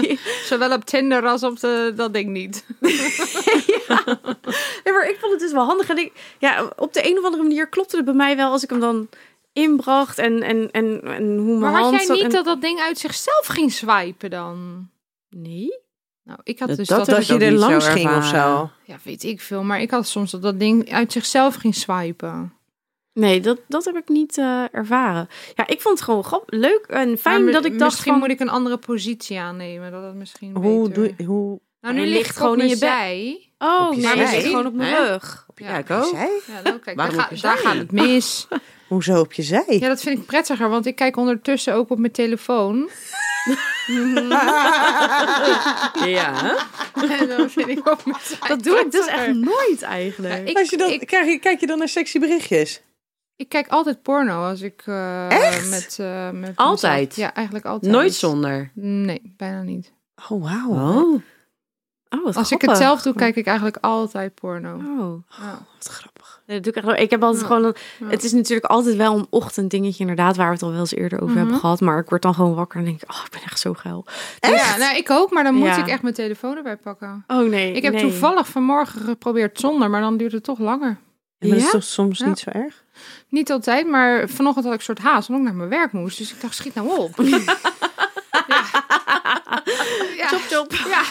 <laughs> Zowel op Tinder als op de, dat ding niet. Nee, maar ik vond het dus wel handig. En ik, ja, op de een of andere manier klopte het bij mij wel als ik hem dan inbracht en, en, en, en hoe mijn Maar had hand jij zat niet en- dat dat ding uit zichzelf ging swipen dan? Nee? Nou, ik had Dat- dus dat dat... heb Dat ik je ook er niet zo langs ging of ervaren. zo. Ja, weet ik veel. Maar ik had soms dat dat ding uit zichzelf ging swipen. Nee, dat, dat heb ik niet eh, ervaren. Ja, ik vond het gewoon grap- leuk en fijn Maar mi- dat ik dacht Misschien van... moet ik een andere positie aannemen. Dat dat misschien Hoe beter... doe je... Hoe... Nou, nu Hij ligt gewoon in je bij. Oh, Op je maar zij. misschien gewoon op mijn Hè? rug. Ja, ik ook. Zij? Ja, nou, kijk, daar, Waarom ga- op je daar zij? gaat het mis. Hoezo op je zij? Ja, dat vind ik prettiger, want ik kijk ondertussen ook op mijn telefoon. <laughs> Ja, hè? en dan vind ik ook mijn zij Dat doe ik dus echt prettiger. nooit eigenlijk. Ja, <laughs> ik, Als je dan, ik, krijg je, kijk je dan naar sexy berichtjes? ik kijk altijd porno als ik eh, Echt? met, eh, met Altijd? mezelf- Ja, eigenlijk altijd. Nooit zonder. Nee, bijna niet. Oh, wauw. Oh. oh, wat Als ik het grappig. zelf doe, kijk ik eigenlijk altijd porno. Oh. Ja. Wat grappig. Nee, dat doe ik, echt wel. ik heb altijd Ja. gewoon een- Ja. Het is natuurlijk altijd wel een ochtenddingetje, inderdaad, waar we het al wel eens eerder over hebben Mhm. gehad. Maar ik word dan gewoon wakker en denk ik, oh, ik ben echt zo geil. Ja, nou, ik ook, maar dan moet Ja. ik echt mijn telefoon erbij pakken. Oh nee. Ik heb nee. toevallig vanmorgen geprobeerd zonder, maar dan duurt het toch langer. Maar dat is Ja? toch soms Ja. niet zo erg? Niet altijd, maar vanochtend had ik een soort haast omdat ik naar mijn werk moest. Dus ik dacht, schiet nou op. ja. <laughs> Ja. Chop, chop. Ja,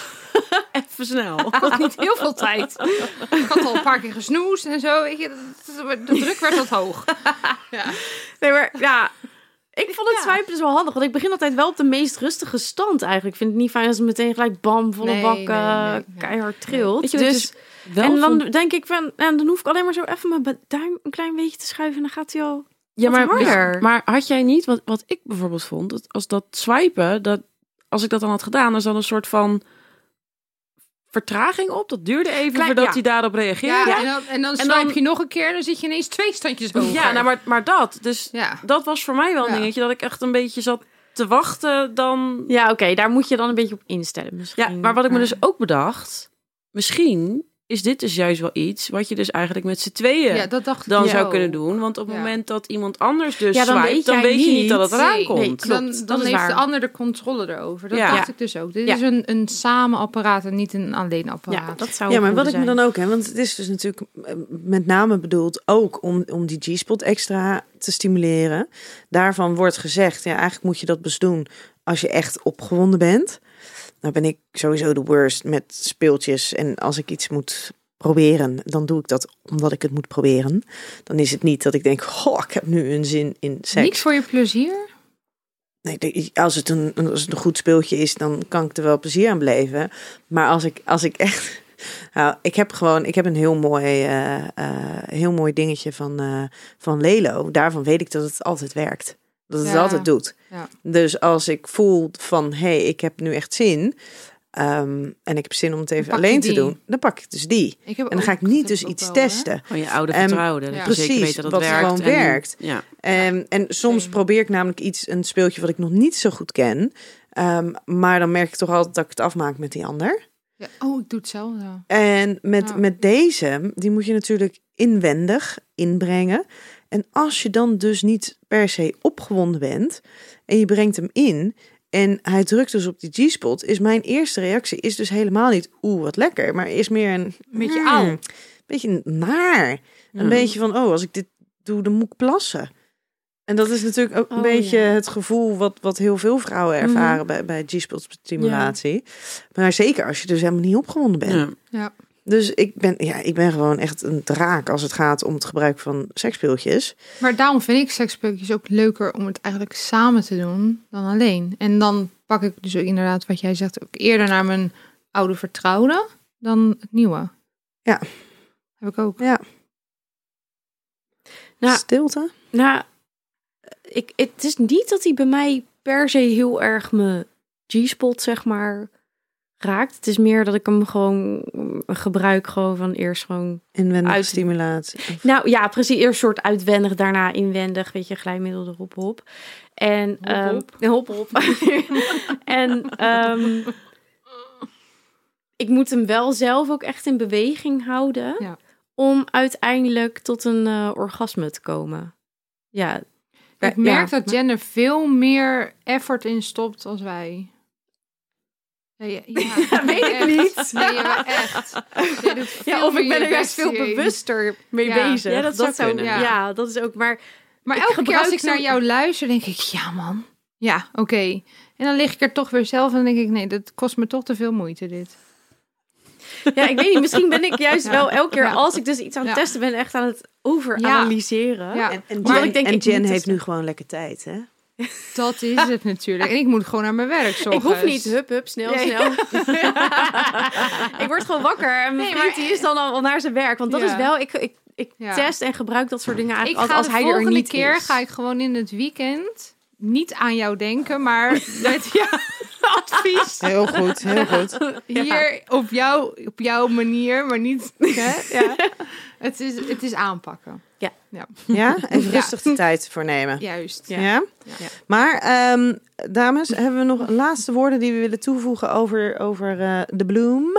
<laughs> Even snel. ik had niet heel veel tijd. Ik had al een paar keer gesnoest en zo. weet je, de de druk werd wat hoog. <laughs> Nee, maar ja. Ik vond het Ja. swipen dus wel handig, want ik begin altijd wel op de meest rustige stand eigenlijk. Ik vind het niet fijn als het meteen gelijk bam, volle Nee, bak, nee, eh, nee, nee. keihard trilt. Weet je wat ik dus, Wel en dan vond- denk ik, van, en dan hoef ik alleen maar zo even mijn be- duim een klein beetje te schuiven en dan gaat hij al... Ja, Wat maar, harder. maar had jij niet, wat, wat ik bijvoorbeeld vond, dat als dat swipen, dat, als ik dat dan had gedaan, er is dan een soort van vertraging op. Dat duurde even Klein- voordat ja. hij daarop Ja, reageerde. en dan, en dan En swipe dan- je nog een keer en dan zit je ineens twee standjes hoger. Ja, nou, maar, maar dat. Dus Ja. dat was voor mij wel een Ja. dingetje, dat ik echt een beetje zat te wachten dan... Ja, oké, daar moet je dan een beetje op instellen misschien. Ja, maar wat ik me dus ook bedacht, misschien is dit dus juist wel iets wat je dus eigenlijk met z'n tweeën ja, dat dacht ik dan dus zou ook. kunnen doen. Want op het Ja. moment dat iemand anders dus Ja, dan swipe, weet dan jij weet je niet niet. dat het eraan Nee, komt. nee, Dan, Klopt, dan dat is heeft waar. de ander de controle erover. Dat Ja. dacht Ja. ik dus ook. Dit Ja. is een, een samen apparaat en niet een alleen apparaat. Ja, dat zou Ja, een maar wat goede ik me zijn. dan ook, hè, want het is dus natuurlijk eh, met name bedoeld ook om, om die G-spot extra te stimuleren. Daarvan wordt gezegd, ja, eigenlijk moet je dat best doen als je echt opgewonden bent. Nou ben ik sowieso de worst met speeltjes en als ik iets moet proberen, dan doe ik dat omdat ik het moet proberen. Dan is het niet dat ik denk, goh, ik heb nu een zin in seks. Niet voor je plezier? Nee, de- als het, een, als het een goed speeltje is, dan kan ik er wel plezier aan beleven. Maar als ik, als ik echt. <laughs> Nou, ik heb gewoon ik heb een heel mooi, eh, eh, heel mooi dingetje van, eh, van Lelo. Daarvan weet ik dat het altijd werkt. Dat het Ja. altijd doet. Ja. Dus als ik voel van hé, hey, ik heb nu echt zin. eh, ehm, en ik heb zin om het even pak je alleen te die. doen, dan pak ik dus die. Ik heb En dan ook- ga ik niet dat dus ook iets wel, hè? testen. Van je oude Ehm, vertrouwde. dat ja. je precies, zeker weet dat het wat werkt. gewoon en- werkt. Ja. Ehm, en soms Same. probeer ik namelijk iets, een speeltje wat ik nog niet zo goed ken. Ehm, maar dan merk ik toch altijd dat ik het afmaak met die ander. Ja, oh, ik doe het zelf zo. En met, Ja. met deze, die moet je natuurlijk inwendig inbrengen. En als je dan dus niet per se opgewonden bent en je brengt hem in en hij drukt dus op die G-spot, is mijn eerste reactie is dus helemaal niet oeh wat lekker, maar is meer een Beetje "Hmm, auw." beetje naar. Een beetje van, oh, als ik dit doe, dan moet ik plassen. En dat is natuurlijk ook een Oh, beetje ja. het gevoel wat, wat heel veel vrouwen ervaren bij, bij G-spot stimulatie. Maar zeker als je dus helemaal niet opgewonden bent. Ja. Ja. Dus ik ben, ja, ik ben gewoon echt een draak als het gaat om het gebruik van seksspeeltjes. Maar daarom vind ik seksspeeltjes ook leuker om het eigenlijk samen te doen dan alleen. En dan pak ik dus ook inderdaad wat jij zegt ook eerder naar mijn oude vertrouwde dan het nieuwe. Ja. Heb ik ook. Ja. Stilte. Nou, ik, het is niet dat hij bij mij per se heel erg mijn G-spot, zeg maar, raakt. Het is meer dat ik hem gewoon mm, gebruik, gewoon van eerst gewoon... Inwendige Uit- stimulatie. Nou ja, precies, eerst soort uitwendig, daarna inwendig, weet je, glijmiddel erop, hop. En, ehm, <laughs> hop, hop. en ehm, ik moet hem wel zelf ook echt in beweging houden... Ja. om uiteindelijk tot een eh, orgasme te komen. Ja, Ik merk ja. dat gender veel meer effort in stopt als wij. Nee, ja, ja, <laughs> weet ik echt. niet. Nee, ja, echt. Jij doet Ja, veel of ik meer ben je er juist best veel hierin. bewuster mee Ja. bezig. Ja, dat zou kunnen. Ja. Ja, dat is ook. Maar Maar Ik elke keer gebruik als ik ze- naar jou luister, denk ik, ja man, ja, oké. En dan lig ik er toch weer zelf en dan denk ik, nee, dat kost me toch te veel moeite dit. ja, ik weet niet. Misschien ben ik <laughs> juist Ja. wel elke keer Ja. als ik dus iets aan het Ja. testen ben, echt aan het overanalyseren. Ja, En, en Maar Jen, ik denk, en ik Jen moet heeft dus- nu gewoon lekker tijd, <laughs> hè? dat is het natuurlijk. En ik moet gewoon naar mijn werk zorgen. Ik hoef niet hup, hup, snel, Nee. <laughs> snel. <laughs> ik word gewoon wakker. En mijn Nee, maar- vriend die is dan al, al naar zijn werk. Want dat Ja. is wel, ik, ik, ik Ja. test en gebruik dat soort dingen Ik eigenlijk ga als, als de hij er volgende niet keer is. ga ik gewoon in het weekend niet aan jou denken, <laughs> maar met jouw <laughs> advies Heel goed, heel goed. hier op, jou, op jouw manier, maar niet. Hè? <laughs> Ja. Het, is, het is aanpakken. <laughs> Ja, even Ja. rustig de tijd voor nemen. Juist. Ja. Ja. Ja. Maar ehm, dames, hebben we nog laatste woorden die we willen toevoegen over, over eh, de bloem?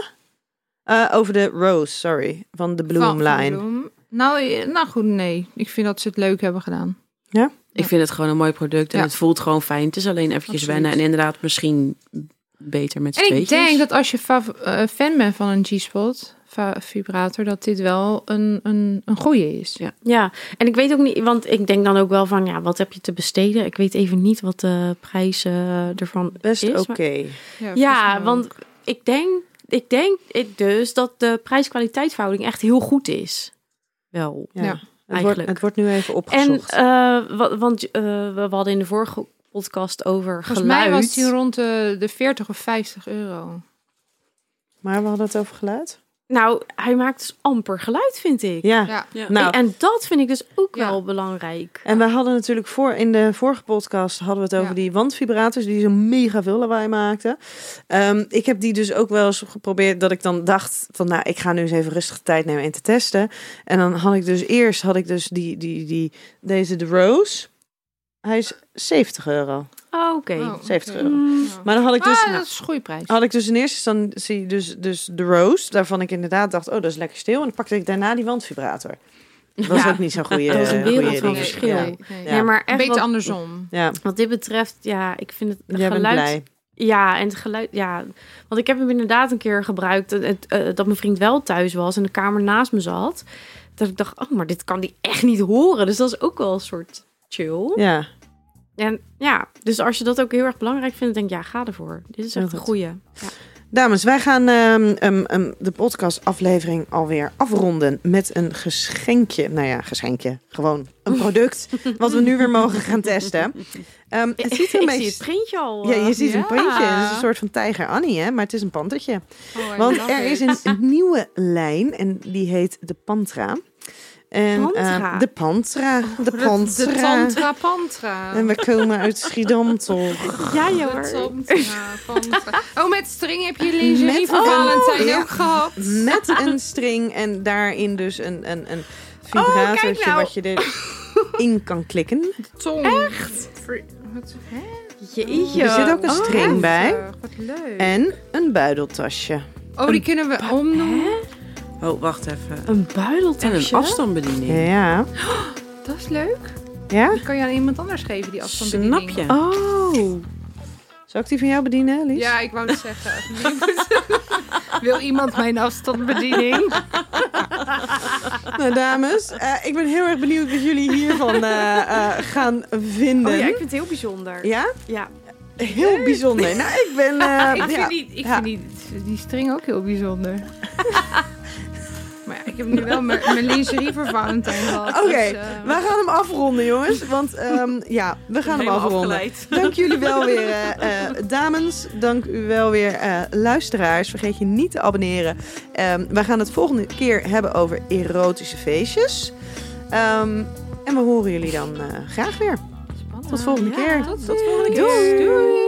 Eh, over de rose, sorry. Van de Van- van bloemlijn. Bloem. Nou, eh, nou goed, nee. Ik vind dat ze het leuk hebben gedaan. Ik vind het gewoon een mooi product. En Ja. het voelt gewoon fijn. Het is alleen eventjes Absoluut. wennen. En inderdaad, misschien beter met z'n En ik tweetjes. denk dat als je fav- eh, fan bent van een G-spot va- vibrator, dat dit wel een, een, een goeie is. Ja. Ja, en ik weet ook niet, want ik denk dan ook wel van, ja, wat heb je te besteden? Ik weet even niet wat de prijs eh, ervan Best is. oké. maar- volgens Ja, mij want ook. ik denk, ik denk ik dus dat de prijs-kwaliteitverhouding echt heel goed is. Wel. Ja, Ja, het, wordt, eigenlijk. het wordt nu even En opgezocht. eh, wa- want eh, we we hadden in de vorige podcast over volgens geluid. mij was die rond de, de 40 of 50 euro. maar we hadden het over geluid. Nou, hij maakt dus amper geluid, vind ik. Ja, Ja. nou. En dat vind ik dus ook Ja. wel belangrijk. En we hadden natuurlijk voor, in de vorige podcast hadden we het over Ja. die wandvibrators die zo mega veel lawaai maakten. Ehm, ik heb die dus ook wel eens geprobeerd dat ik dan dacht van nou ik ga nu eens even rustig de tijd nemen en te testen. En dan had ik dus eerst had ik dus die, die, die, deze de Rose. Hij is 70 euro. Oh, Oké. Oh, oké. 70 euro. Mm, Ja. Maar dan had ik dus, Ah, dat is een goede prijs. had ik dus in eerste instantie dus, dus de Rose. Daarvan ik inderdaad dacht oh dat is lekker stil. En dan pakte ik daarna die wandvibrator. Dat was Ja. ook niet zo'n goede <laughs> Dat is een goede wereld van ding. verschil. Ja. Nee, maar echt Beter wat, andersom. Ja, wat dit betreft, ja, ik vind het jij bent geluid... blij. Ja, en het geluid, ja. Want ik heb hem inderdaad een keer gebruikt. eh, het, eh, dat mijn vriend wel thuis was en de kamer naast me zat. Dat ik dacht, oh, maar dit kan die echt niet horen. Dus dat is ook wel een soort chill. Ja. En ja, dus als je dat ook heel erg belangrijk vindt, denk ik, ja, ga ervoor. Dit is Heel echt een goed. goeie. Dames, wij gaan ehm, ehm, ehm, de podcastaflevering alweer afronden met een geschenkje. Nou ja, geschenkje. Gewoon een <laughs> product wat we nu weer mogen gaan testen. Ehm, het ziet er een <laughs> ik zie het beetje... printje al. Ja, je eh. ziet een Ja. pandje. Het is een soort van tijger Annie, hè? Maar het is een pantertje. Oh, I Want love <laughs> er it. is een nieuwe lijn en die heet de Pantra. En Pantra. Oh, eh, de pantra. De De pantra. tantra <laughs> pantra. en we komen <laughs> uit Schiedam toch. Ja, De joh. <laughs> tantra pantra. Oh, met string heb je lingerie Met- voor oh, Valentijn ja. ook gehad. <laughs> Met een string en daarin dus een, een, een vibratortje kijk nou. wat je erin kan klikken. Tong. Echt? Wat, hè? Jeetje. Oh, Er zit ook een string bij. Heftig, Eh, Wat leuk. En een buideltasje. Oh, die kunnen we omdoen. Oh, wacht even. En Een buideltasje. een afstandsbediening. Ja. Dat is leuk. Ja? Die kan je aan iemand anders geven, die afstandsbediening. Snap je? Oh. Zal ik die van jou bedienen, Lies? Ja, ik wou het zeggen. <laughs> Wil iemand mijn <laughs> afstandsbediening? Nou, dames, eh, ik ben heel erg benieuwd wat jullie hiervan eh, eh, gaan vinden. oh ja, ik vind het heel bijzonder. Ja? Ja. Heel bijzonder. Nou, ik ben... eh, ik ja. vind, die, ik Ja. vind die, die string ook heel bijzonder. <laughs> maar ja, ik heb nu wel mijn mijn lingerie voor Valentijn gehad. Oké, dus, eh, we gaan hem afronden, jongens. Want ehm, ja, we gaan hem Helemaal afronden. afgeleid. Dank jullie wel weer, eh, eh, dames. Dank u wel weer, eh, luisteraars. Vergeet je niet te abonneren. Ehm, we gaan het volgende keer hebben over erotische feestjes. Ehm, en we horen jullie dan eh, graag weer. Tot volgende Ja, keer. tot volgende ziens. Doei.